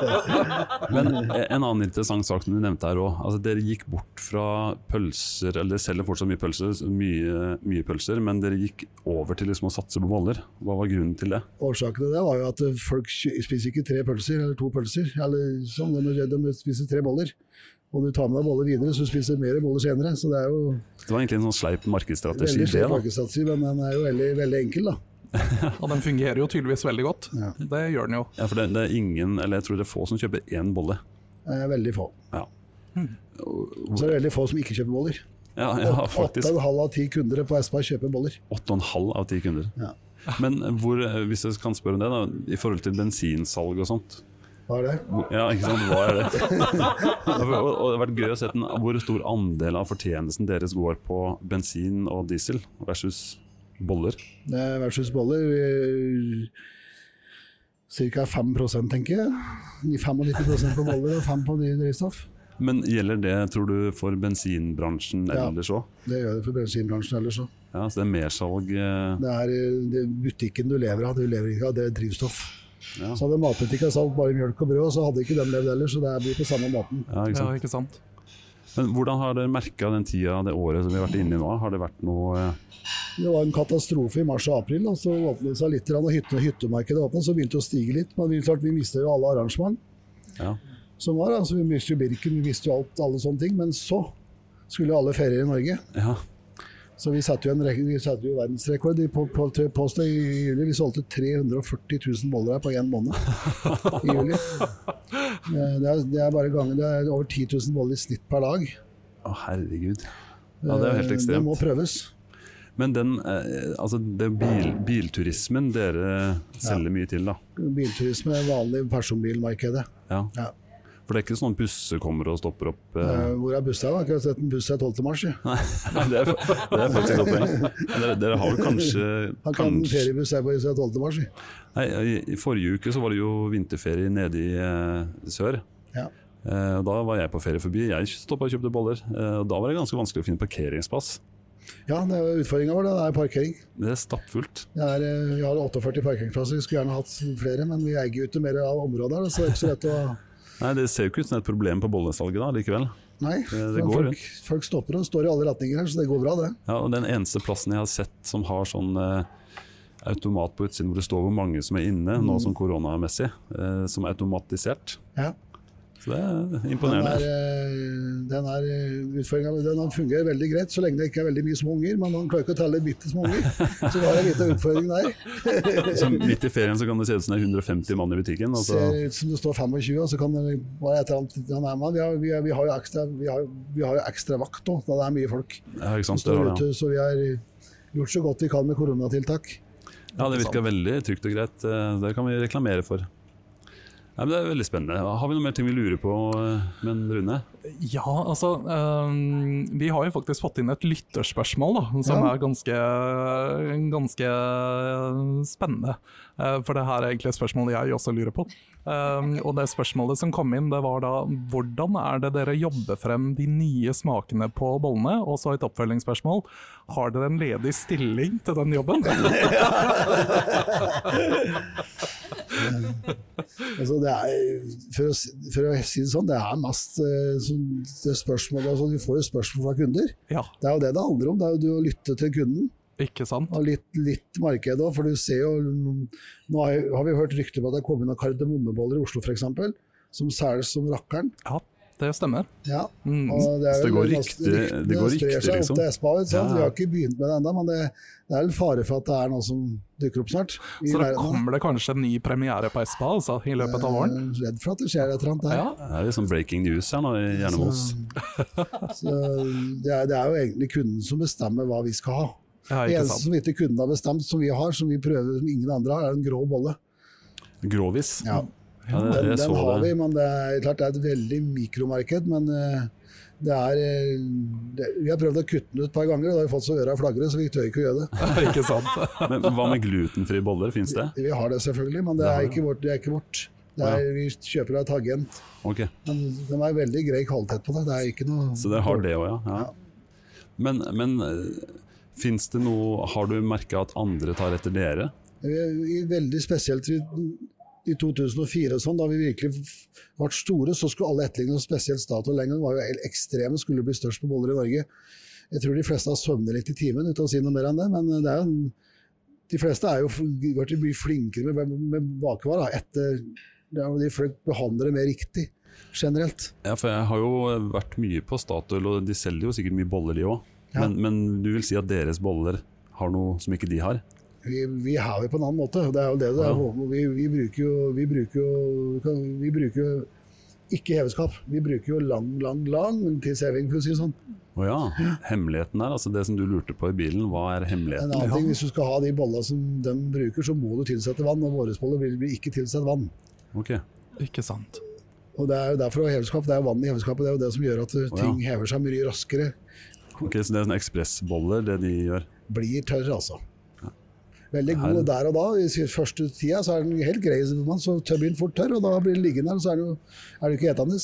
Speaker 2: Men eh, en annen interessant sak som du nevnte her òg. Altså, dere gikk bort fra pølser, eller dere selger fortsatt mye pølser, så mye, mye pølser, men dere gikk over til liksom å satse på boller. Hva var grunnen til det?
Speaker 5: Årsaken til det var jo at eh, folk kjø- spiser ikke tre pølser eller to pølser. Eller sånn, de, de spiser tre boller. Og du tar med deg boller videre, så du spiser mer boller senere. Så det er jo
Speaker 2: Det var egentlig en sånn sleip markedsstrategi.
Speaker 5: veldig
Speaker 2: det,
Speaker 5: stor
Speaker 2: da.
Speaker 5: markedsstrategi, men den er jo veldig, veldig enkel, da.
Speaker 4: Og den fungerer jo tydeligvis veldig godt. Det gjør den jo.
Speaker 2: Ja, for det, det er ingen, eller jeg tror det er få som kjøper én bolle.
Speaker 5: Eh, veldig få.
Speaker 2: Ja,
Speaker 5: Så er det veldig få som ikke kjøper boller.
Speaker 2: ja, ja faktisk.
Speaker 5: Åtte og en halv av ti kunder på Espa kjøper boller.
Speaker 2: 8,5 av 10 kunder.
Speaker 5: Ja.
Speaker 2: Men hvor, eh, hvis jeg kan spørre om det, da, i forhold til bensinsalg og sånt
Speaker 5: Hva er det?
Speaker 2: hvor- Ja, ikke sant, hva er det? og, og det har vært gøy å se den, hvor stor andel av fortjenesten deres går på bensin og diesel versus boller.
Speaker 5: Eh, Versus boller Ca. 5 tenker jeg. 95 på boller og 5 på ny drivstoff.
Speaker 2: Men gjelder det, tror du, for bensinbransjen
Speaker 5: Ja.
Speaker 2: ellers òg?
Speaker 5: Det gjør det for bensinbransjen ellers òg.
Speaker 2: Ja, så det er mersalg eh,
Speaker 5: Det er eh, det er butikken du lever av, du lever ikke av det er drivstoff.
Speaker 2: Ja.
Speaker 5: Så hadde matbutikken solgt bare mjølk og brød, så hadde ikke den levd heller, så det blir på samme måten.
Speaker 2: ja, ikke
Speaker 4: Ja,
Speaker 2: sant?
Speaker 4: ikke sant?
Speaker 2: Men hvordan har dere merka den tida, det året som vi har vært inne i nå? Har det vært noe eh,
Speaker 5: Det var en katastrofe i mars og april, og så åpnet det seg litt, grann, og hytte, hyttemarkedet åpnet, så begynte det å stige litt. Men vi, klart, vi mistet jo alle arrangement.
Speaker 2: ja.
Speaker 5: som var. Altså, vi mistet jo Birken, vi mistet jo alt, alle sånne ting. Men så skulle jo alle ferie i Norge.
Speaker 2: ja.
Speaker 5: Så vi satte jo, en, rek- vi satte jo verdensrekord i på, på, på, Posta i juli. Vi solgte 340 000 boller her på én måned i juli. Eh, Det er, det er bare gangen, det er over 10 000 boller i snitt per dag.
Speaker 2: Å, herregud. Ja, det er jo helt
Speaker 5: Eh, Det må
Speaker 2: ekstremt.
Speaker 5: prøves.
Speaker 2: Men den, eh, altså, det er bil, bilturismen dere selger mye til, da.
Speaker 5: Bilturisme er vanlig i personbilmarkedet.
Speaker 2: Ja.
Speaker 5: Ja.
Speaker 2: For det er ikke sånn at busser kommer og stopper opp eh,
Speaker 5: Eh, Hvor er bussa? Jeg har ikke sett en buss her 12. mars. jeg.
Speaker 2: Nei, det er, det er faktisk et godt poeng. Men Dere, dere har jo kanskje,
Speaker 5: Han kan en
Speaker 2: kanskje
Speaker 5: feriebuss her på Isøya 12. mars. jeg.
Speaker 2: nei, i, I forrige uke så var det jo vinterferie nede i eh, sør.
Speaker 5: Ja.
Speaker 2: Eh, og da var jeg på ferie forbi. Jeg stoppa og kjøpte boller. Eh, og da var det ganske vanskelig å finne parkeringsplass.
Speaker 5: ja, det er utfordringa vår. Det er parkering.
Speaker 2: Det er stappfullt.
Speaker 5: Det er, eh, vi har 48 parkeringsplasser. Vi skulle gjerne hatt flere, men vi eier jo ikke mer av området her, så det er ikke så lett å
Speaker 2: Nei, Det ser jo ikke ut som et problem på bollesalget da, likevel.
Speaker 5: Nei.
Speaker 2: det
Speaker 5: men
Speaker 2: går
Speaker 5: folk, folk stopper og står i alle retninger her, så det går bra, det.
Speaker 2: Ja, og Den eneste plassen jeg har sett som har sånn eh, automat på utsiden hvor det står hvor mange som er inne,
Speaker 5: Mm.
Speaker 2: nå som koronamessig, eh, som er automatisert.
Speaker 5: Ja.
Speaker 2: Så det er
Speaker 5: Den,
Speaker 2: imponerende.
Speaker 5: er, eh, den, er, eh, utfordringen med den den fungerer veldig greit, så lenge det ikke er veldig mye små unger. Men han klarer ikke å telle bitte små unger, så det er en liten utfordring der.
Speaker 2: Så Sånn midt i ferien så kan det se ut som det er 150 mann i butikken. Altså.
Speaker 5: ser ut som det står 25, og så kan det være et eller annet ja, nei, men vi, har, vi, har, vi har jo ekstra, vi har, vi har jo ekstra vakt òg, da det er mye folk
Speaker 2: Ja, ikke
Speaker 5: som
Speaker 2: sant? Det,
Speaker 5: står
Speaker 2: var det,
Speaker 5: ute. Så vi har gjort så godt vi kan med koronatiltak.
Speaker 2: ja. ja, det virka veldig trygt og greit. Eh, Det kan vi reklamere for. Nei, men det er veldig spennende. Har vi noe mer ting vi lurer på, eh, men Rune?
Speaker 4: Ja, altså øhm, Vi har jo faktisk fått inn et lytterspørsmål da, som
Speaker 5: Ja.
Speaker 4: er ganske, ganske spennende. Eh, for det her er egentlig et spørsmål jeg også lurer på. Ehm, og det spørsmålet som kom inn, det var da hvordan er det dere jobber frem de nye smakene på bollene? Og så et oppfølgingsspørsmål. Har dere en ledig stilling til den jobben?
Speaker 5: Altså, det er, for, å, si- for å si det sånn, det er mest eh, sånn, det spørsmålet altså, Du får jo spørsmål fra kunder.
Speaker 4: ja,
Speaker 5: Det er jo det det handler om. Det er jo det å lytte til kunden.
Speaker 4: ikke sant?
Speaker 5: Og litt, litt marked òg, for du ser jo Nå har jeg- har vi hørt rykter på at det er kommet noen kardemommeboller i Oslo f.eks. Som selges som rakkeren.
Speaker 4: Ja, det stemmer.
Speaker 5: Ja,
Speaker 4: Mm.
Speaker 5: og
Speaker 2: Så det
Speaker 5: vel
Speaker 2: går
Speaker 5: ganske-
Speaker 2: rykte- det går
Speaker 5: sprer
Speaker 2: rykte,
Speaker 5: seg opp
Speaker 2: liksom.
Speaker 5: til Espa, vet du, sant?
Speaker 2: Ja.
Speaker 5: Vi har ikke begynt med det ennå, men det, det er en fare for at det er noe som dukker opp snart. i
Speaker 4: Så da
Speaker 5: verden.
Speaker 4: kommer det kanskje en ny premiere på Espa altså, i løpet av våren?
Speaker 5: Jeg er redd for at det skjer et eller annet der.
Speaker 4: Ja,
Speaker 2: Det er litt sånn breaking news her nå i Jernemols.
Speaker 5: Så det, er, det er jo egentlig kunden som bestemmer hva vi skal ha.
Speaker 4: ja
Speaker 5: Det
Speaker 4: ikke
Speaker 5: eneste
Speaker 4: sant.
Speaker 5: som ikke kunden har bestemt, som vi har, som vi prøver som ingen andre har, er en grå bolle.
Speaker 2: Grovis.
Speaker 5: Ja.
Speaker 2: Ja, det,
Speaker 5: Den,
Speaker 2: jeg så
Speaker 5: den har vi,
Speaker 2: det.
Speaker 5: men det er klart det er et veldig mikromarked. Men eh, det er eh, det, Vi har prøvd å kutte den ut et par ganger, og da har vi fått så øra flagrer, så vi tør ikke å gjøre det.
Speaker 4: ikke sant.
Speaker 2: Men hva med glutenfrie boller, fins det?
Speaker 5: Vi har det selvfølgelig, men det
Speaker 2: Det har
Speaker 5: er
Speaker 2: vi.
Speaker 5: ikke vårt. Det er ikke vårt. Det er, vi kjøper av Tagent.
Speaker 2: Ok,
Speaker 5: Men de er veldig grei kvalitet på det. Det er ikke noe
Speaker 2: Så dere har det òg, ja. ja. Men, men fins det noe Har du merka at andre tar etter dere?
Speaker 5: I- i- Veldig spesielt i, i 2004 og sånn, da vi virkelig ble store, så skulle alle etterligne oss, spesielt Statoil den gangen var jo ekstreme, skulle bli størst på boller i Norge. Jeg tror de fleste har sovnet litt i timen uten å si noe mer enn det, men det er jo en, de fleste er jo f- vært mye flinkere med, med bakvarer etter det er jo de folk behandler det mer riktig generelt.
Speaker 2: Ja, for jeg har jo vært mye på Statoil, og de selger jo sikkert mye boller, de òg.
Speaker 5: Ja.
Speaker 2: Men, men du vil si at deres boller har noe som ikke de har?
Speaker 5: Vi, vi har det på en annen måte. Det er jo det det er. Vi, vi bruker jo Vi bruker jo, kan- vi bruker jo ikke heveskap. Vi bruker jo lang, lang, lang tidsheving, for å si det sånn.
Speaker 2: Å ja. Hemmeligheten der, altså det som du lurte på i bilen, hva er
Speaker 5: En
Speaker 2: hemmeligheten?
Speaker 5: annen ting, Hvis du skal ha de bollene som de bruker, så må du tilsette vann. Og våre boller vil bli ikke tilsette vann.
Speaker 2: Ok,
Speaker 4: Ikke sant.
Speaker 5: Og Det er jo derfor det er heveskap. Det er jo vann i heveskapet. Det er jo det som gjør at uh,
Speaker 2: ja.
Speaker 5: ting hever seg mye raskere.
Speaker 2: Ok, Så det er sånn ekspressboller, det de gjør?
Speaker 5: Blir tørr, altså. Veldig god der og da. I sin første tida så er den helt grei, men så tør- blir den fort tørr. Og da blir den liggende her, og så er den jo er den jo ikke etende.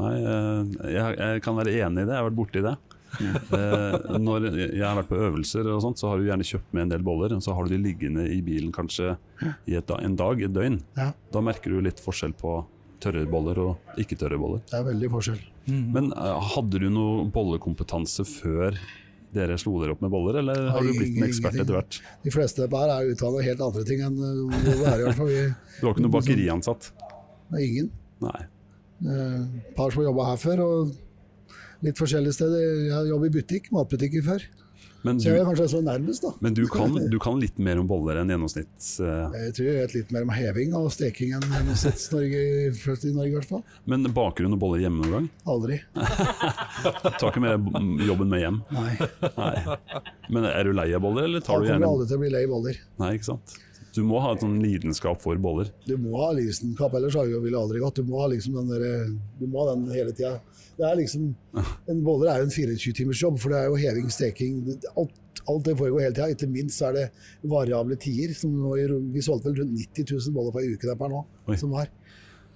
Speaker 2: Nei, eh, jeg, jeg kan være enig i det. Jeg har vært borti det. Eh, Når jeg har vært på øvelser, og sånt, så har du gjerne kjøpt med en del boller. og Så har du de liggende i bilen kanskje i et, da- en dag, et døgn.
Speaker 5: Ja.
Speaker 2: Da merker du litt forskjell på tørre boller og ikke tørre boller.
Speaker 5: Det er veldig forskjell.
Speaker 2: Men eh, hadde du noe bollekompetanse før dere slo dere opp med boller, eller har du
Speaker 5: Nei,
Speaker 2: blitt en ekspert
Speaker 5: ingenting.
Speaker 2: etter hvert?
Speaker 5: De fleste her er utdannet helt andre ting enn uh, hvor vi er i hvert fall. Vi
Speaker 2: Du var ikke noe bakeriansatt?
Speaker 5: det er ingen.
Speaker 2: Nei.
Speaker 5: Eh, par som har jobba her før, og litt forskjellige steder. Jeg har jobbet i butikk, matbutikker før.
Speaker 2: Men
Speaker 5: Så jeg
Speaker 2: du,
Speaker 5: er kanskje så nærmest, da.
Speaker 2: men du, kan, du kan litt mer om boller enn gjennomsnitts... eh,
Speaker 5: Jeg tror jeg vet litt mer om heving og steking enn Gjennomsnitts-Norge, først i Norge i hvert fall.
Speaker 2: Men baker du noen boller hjemme noen gang?
Speaker 5: Aldri.
Speaker 2: Tar ikke med deg jobben med hjem.
Speaker 5: Nei.
Speaker 2: Nei. Men er du lei av boller, eller
Speaker 5: Da
Speaker 2: tar du
Speaker 5: kommer du
Speaker 2: gjerne
Speaker 5: aldri til å bli lei boller.
Speaker 2: Nei, ikke sant. Du må ha et sånn lidenskap for boller.
Speaker 5: Du må ha lisenkapp, ellers har du vel aldri gått. Du må ha liksom den der, du må ha den hele tida. Det er liksom, en boller er jo en 24-timersjobb, for det er jo heving, steking Alt, alt det foregår hele tida. Ikke minst så er det variable tider. Som nå i, rom- vi solgte vel rundt 90 000 boller på ei uke der per nå.
Speaker 2: Oi.
Speaker 5: Som var.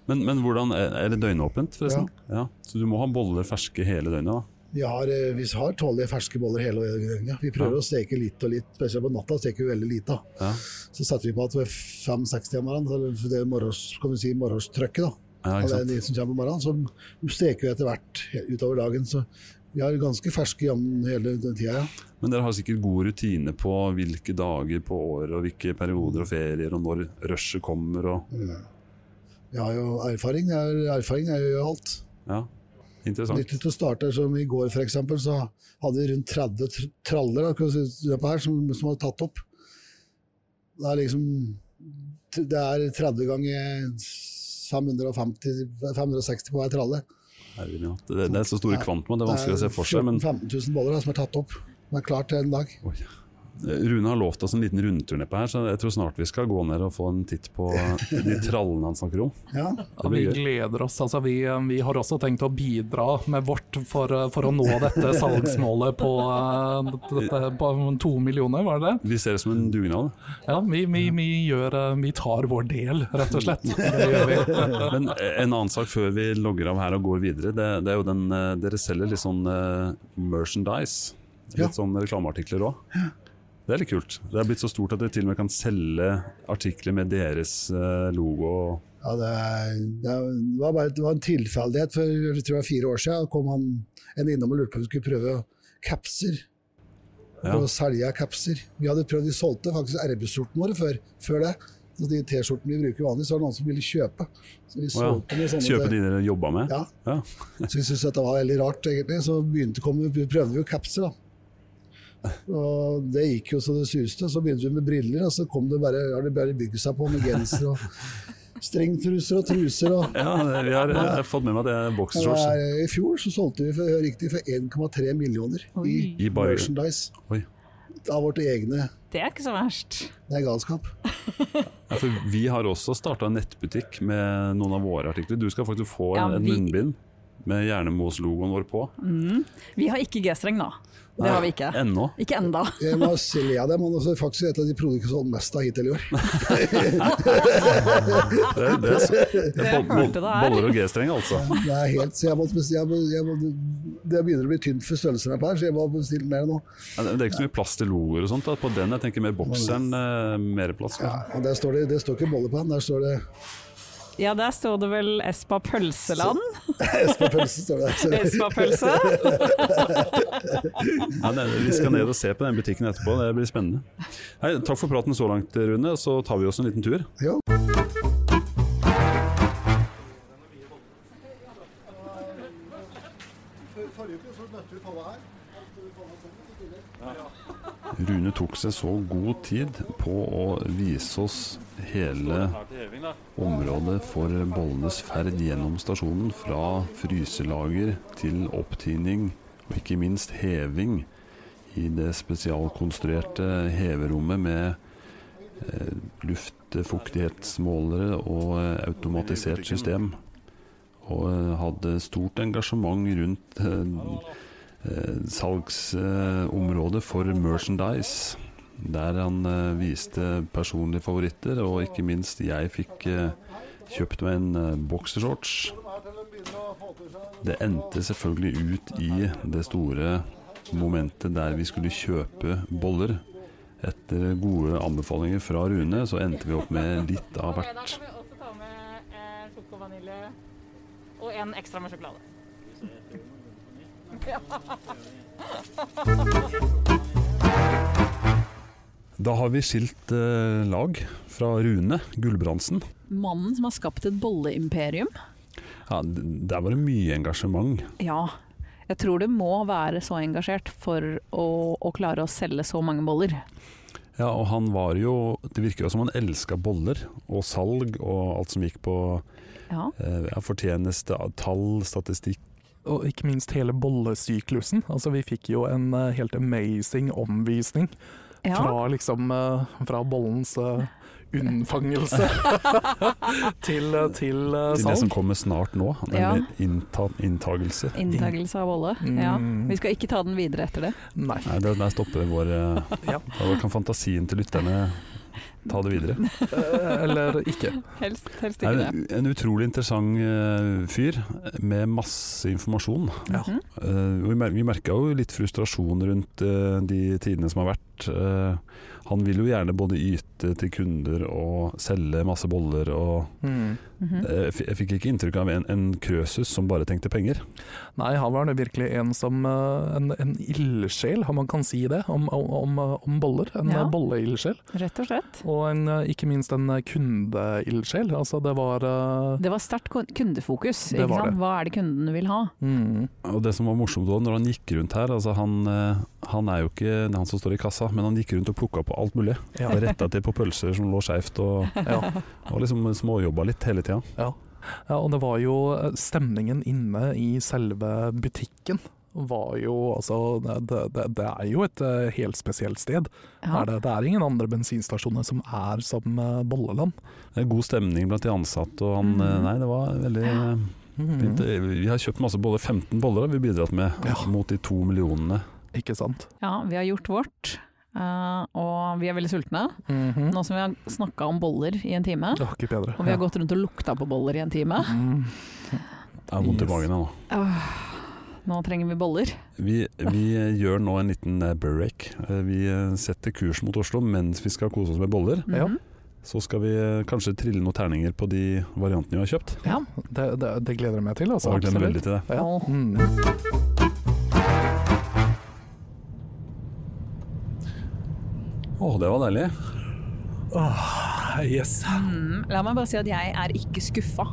Speaker 2: Men, men hvordan er er det døgnåpent, forresten? Ja. Så du må ha boller ferske hele døgnet, da.
Speaker 5: Vi har, eh, vi har tålige ferske boller hele døgnet. Vi prøver
Speaker 2: Ja.
Speaker 5: å steke litt og litt. Spesielt på natta steker vi veldig lite.
Speaker 2: Ja.
Speaker 5: Så setter vi på at ved fem-seks timer om morgenen, så det er morgens- kan du si, morgenstrøkket, da.
Speaker 2: Ja, ikke
Speaker 5: Alle
Speaker 2: sant?
Speaker 5: de som kommer på morgenen, så steker vi etter hvert utover dagen. Så vi har ganske ferske jevn hele den tida, ja.
Speaker 2: Men dere har sikkert god rutine på hvilke dager på året og hvilke perioder og ferier og når rushet kommer og
Speaker 5: Mm. Vi har jo erfaring. Jeg har- erfaring er jo alt.
Speaker 2: Ja, interessant.
Speaker 5: Nyttig til å starte, som i går f.eks., så hadde vi rundt 30 tr- traller da, kan vi si, løpet her, som, som var tatt opp. Det er liksom Det er 30 ganger 550, 560 på hver tralle.
Speaker 2: Herregud, ja. Det, det er så store kvantum at det er vanskelig å se for seg, men
Speaker 5: 15 000 boller da, som er tatt opp. Det er klart til en dag.
Speaker 2: Oi. Rune har lovt oss en liten rundtur nedpå her, så jeg tror snart vi skal gå ned og få en titt på de trallene han snakker om.
Speaker 5: Ja.
Speaker 4: Ja, vi
Speaker 2: blir gøy.
Speaker 4: gleder oss. Altså, vi, vi har også tenkt å bidra med vårt for, for å nå dette salgsmålet på, eh, dette, på to millioner, var det det?
Speaker 2: Vi ser det som en dugnad.
Speaker 4: Ja, vi, vi, vi, gjør, eh, vi tar vår del, rett og slett. Det gjør vi.
Speaker 2: Men en annen sak før vi logger av her og går videre, det, det er jo den eh, Dere selger litt sånn eh, merchandise. Litt
Speaker 5: Ja.
Speaker 2: sånn reklameartikler òg. Det er litt kult. Det er blitt så stort at dere til og med kan selge artikler med deres eh, logo.
Speaker 5: Ja, det, er- det er- det var bare det var en tilfeldighet for jeg tror det var fire år siden. kom han en innom og lurte på om vi skulle prøve capser.
Speaker 2: Ja.
Speaker 5: For å selge capser. Vi hadde prøvd, vi solgte faktisk RB-skjortene våre før, før det. Så de T-skjortene vi bruker vanligvis, var det noen som ville kjøpe. Så vi
Speaker 2: Å
Speaker 5: solgte noen
Speaker 2: ja.
Speaker 5: sånne
Speaker 2: Kjøpe
Speaker 5: til-
Speaker 2: de dere jobba med?
Speaker 5: sånn Ja,
Speaker 2: Ja.
Speaker 5: så vi syntes dette var veldig rart, egentlig. Så begynte kom, vi- prøvde vi jo capser, da. Og det gikk jo så det suste. Så begynte vi med briller, og så kom det bare, har det bare bygd seg på med genser og strengtruser og truser. og
Speaker 2: ja det, vi har, jeg har fått med meg at det er
Speaker 5: det
Speaker 2: boksershorts.
Speaker 5: er, I fjor så solgte vi for, hør riktig, for 1,3 millioner i,
Speaker 2: I bare-
Speaker 5: merchandise
Speaker 2: Oi.
Speaker 5: av vårt egne.
Speaker 3: Det er ikke så verst.
Speaker 5: Det er galskap.
Speaker 2: Ja, for vi har også starta en nettbutikk med noen av våre artikler. Du skal faktisk få
Speaker 3: Ja,
Speaker 2: en, en
Speaker 3: vi-
Speaker 2: munnbind med Jernemos-logoen vår på.
Speaker 3: Vi har ikke G-streng nå. Det har vi ikke.
Speaker 2: Ennå.
Speaker 3: Ikke enda.
Speaker 5: Jeg må se le av dem, og det er faktisk et av de produktene som har solgt mest av hittil i år.
Speaker 2: Det, det er så, det er
Speaker 3: Jeg
Speaker 2: bo- bo-
Speaker 3: hørte det her.
Speaker 2: boller og G-streng, altså.
Speaker 5: Det er helt, så jeg må, bes- jeg må, jeg må, det begynner å bli tynt for størrelsen her, på her, så jeg må bestille mer nå.
Speaker 2: Ja, Det det er ikke så mye plass til logoer og sånt. Da. På den jeg tenker mer bokseren, eh, mer plass.
Speaker 5: Ja,
Speaker 2: kanskje.
Speaker 5: og der står det, det står ikke bolle på den, der står det
Speaker 3: Ja, der står det vel Espa Pølseland.
Speaker 5: Espa-pølse. står det der. Så-
Speaker 3: Espa Pølse.
Speaker 2: Ja, det, vi skal ned og se på den butikken etterpå, det blir spennende. Hei, takk for praten så langt, Rune. Så tar vi oss en liten tur.
Speaker 5: Ja.
Speaker 2: Rune tok seg så god tid på å vise oss hele området for bollenes ferd gjennom stasjonen. Fra fryselager til opptining, og ikke minst heving i det spesialkonstruerte heverommet med eh, luftfuktighetsmålere og eh, automatisert system. Og eh, hadde stort engasjement rundt eh, eh, salgsområdet for merchandise. Der han eh, viste personlige favoritter, og ikke minst jeg fikk eh, kjøpt meg en eh, boksershorts. Det endte selvfølgelig ut i det store momentet der vi skulle kjøpe boller. Etter gode anbefalinger fra Rune, så endte vi opp med litt av
Speaker 6: Ok, Da
Speaker 2: hvert.
Speaker 6: kan vi også ta med eh, sjoko vanilje og en ekstra med sjokolade.
Speaker 2: Da har vi skilt eh, lag fra Rune Gulbrandsen.
Speaker 3: Mannen som har skapt et bolleimperium.
Speaker 2: Ja, d- der var det mye engasjement.
Speaker 3: Ja. Jeg tror det må være så engasjert for å, å klare å selge så mange boller.
Speaker 2: Ja, og han var jo Det virker jo som han elska boller og salg og alt som gikk på
Speaker 3: Ja.
Speaker 2: eh, ja, fortjeneste, tall, statistikk.
Speaker 4: Og ikke minst hele bollesyklusen. Altså, vi fikk jo en eh, helt amazing omvisning
Speaker 3: ja.
Speaker 4: fra liksom eh, Fra bollens eh, unnfangelse til, eh, til eh,
Speaker 2: Til det som
Speaker 4: salg.
Speaker 2: kommer snart nå,
Speaker 3: Ja.
Speaker 2: nemlig innta, inntagelse.
Speaker 3: Inntagelse av bolle. Ja.
Speaker 4: Mm.
Speaker 3: Vi skal ikke ta den videre etter det.
Speaker 4: Nei.
Speaker 2: Nei, det, der stopper vår eh,
Speaker 4: Ja.
Speaker 2: Da kan fantasien til lytterne ta det videre.
Speaker 4: Eh, Eller ikke.
Speaker 3: Helst, helst
Speaker 2: Det
Speaker 3: ikke
Speaker 2: er
Speaker 3: det.
Speaker 2: en- en utrolig interessant eh, fyr med masse informasjon.
Speaker 4: Ja.
Speaker 3: Mhm.
Speaker 2: Eh, og vi mer vi merka jo litt frustrasjon rundt eh, de tidene som har vært. Eh, han vil jo gjerne både yte til kunder og selge masse boller og
Speaker 4: Mm.
Speaker 3: Mhm.
Speaker 2: Eh, Jeg fi- jeg fikk ikke inntrykk av en, en krøsus som bare tenkte penger.
Speaker 4: Nei, han var virkelig en som eh, En, en ildsjel, om man kan si det, om, om, om boller. En
Speaker 3: Ja.
Speaker 4: eh, bolleildsjel.
Speaker 3: Rett og slett.
Speaker 4: Og en, eh, ikke minst en eh, kundeildsjel. Altså, det var eh,
Speaker 3: Det var sterkt kun- kundefokus.
Speaker 4: Det
Speaker 3: Ikke
Speaker 4: var
Speaker 3: sant?
Speaker 4: det.
Speaker 3: Hva er det kunden vil ha?
Speaker 4: mm,
Speaker 2: Og det som var morsomt da, når han gikk rundt her, altså han, eh, han er jo ikke han som står i kassa, men han gikk rundt og plukka på alt mulig.
Speaker 4: ja,
Speaker 2: Og Retta til på pølser som lå skeivt, og,
Speaker 4: ja,
Speaker 2: og liksom småjobba litt hele tida.
Speaker 4: ja. ja, og det var jo eh, stemningen inne i selve butikken var jo altså Det, det, det er jo et eh, helt spesielt sted.
Speaker 3: Ja.
Speaker 4: Er det, det er ingen andre bensinstasjoner som er som eh, Bolleland.
Speaker 2: Det er God stemning blant de ansatte, og han
Speaker 3: Mhm.
Speaker 2: eh, Nei, det var veldig eh, fint.
Speaker 4: Mm,
Speaker 2: Eh, Vi har kjøpt masse boller, 15 boller har vi bidratt med,
Speaker 4: Ja.
Speaker 2: mot de to millionene.
Speaker 4: ikke sant?
Speaker 3: Ja, vi har gjort vårt. eh, og vi er veldig sultne,
Speaker 2: Mm.
Speaker 4: Mhm.
Speaker 3: nå som vi har snakka om boller i en time.
Speaker 4: Det var ikke bedre.
Speaker 3: Og vi har
Speaker 4: Ja.
Speaker 3: gått rundt og lukta på boller i en time.
Speaker 4: Mm.
Speaker 2: Det er vondt i
Speaker 4: Yes.
Speaker 2: magen nå.
Speaker 3: Nå trenger vi boller.
Speaker 2: Vi, vi gjør nå en liten eh, break. Eh, Vi eh, setter kurs mot Oslo mens vi skal kose oss med boller.
Speaker 3: Mhm.
Speaker 4: Ja.
Speaker 2: Så skal vi eh, kanskje trille noen terninger på de variantene vi har kjøpt.
Speaker 3: Ja.
Speaker 4: Det, det, det gleder jeg meg til. Altså,
Speaker 2: Og jeg gleder meg veldig til det.
Speaker 4: Ja.
Speaker 3: Åh.
Speaker 4: Mm.
Speaker 2: Å, det var deilig.
Speaker 4: Yes.
Speaker 3: Mm, La meg bare si at jeg er ikke skuffa.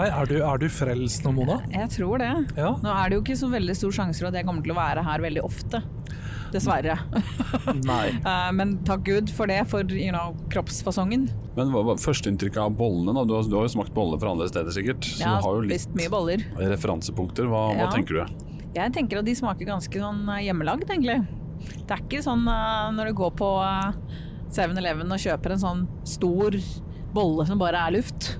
Speaker 4: Hei, er du, er du frelst nå, Mona?
Speaker 3: Jeg tror det.
Speaker 4: Ja.
Speaker 3: Nå er det jo ikke så veldig stor sjanse for at jeg kommer til å være her veldig ofte. Dessverre.
Speaker 4: Nei.
Speaker 3: Eh, men takk Gud for det, for you know, kroppsfasongen.
Speaker 2: Men hva var førsteinntrykket av bollene? da? Du har, du har jo smakt boller fra andre steder sikkert, så
Speaker 3: Jeg
Speaker 2: du har
Speaker 3: har
Speaker 2: jo litt
Speaker 3: spist mye boller.
Speaker 2: referansepunkter. Hva, hva
Speaker 3: Ja.
Speaker 2: tenker du?
Speaker 3: Jeg tenker at de smaker ganske sånn eh, hjemmelagd, egentlig. Det er ikke sånn eh, når du går på eh, 7-Eleven og kjøper en sånn stor bolle som bare er luft.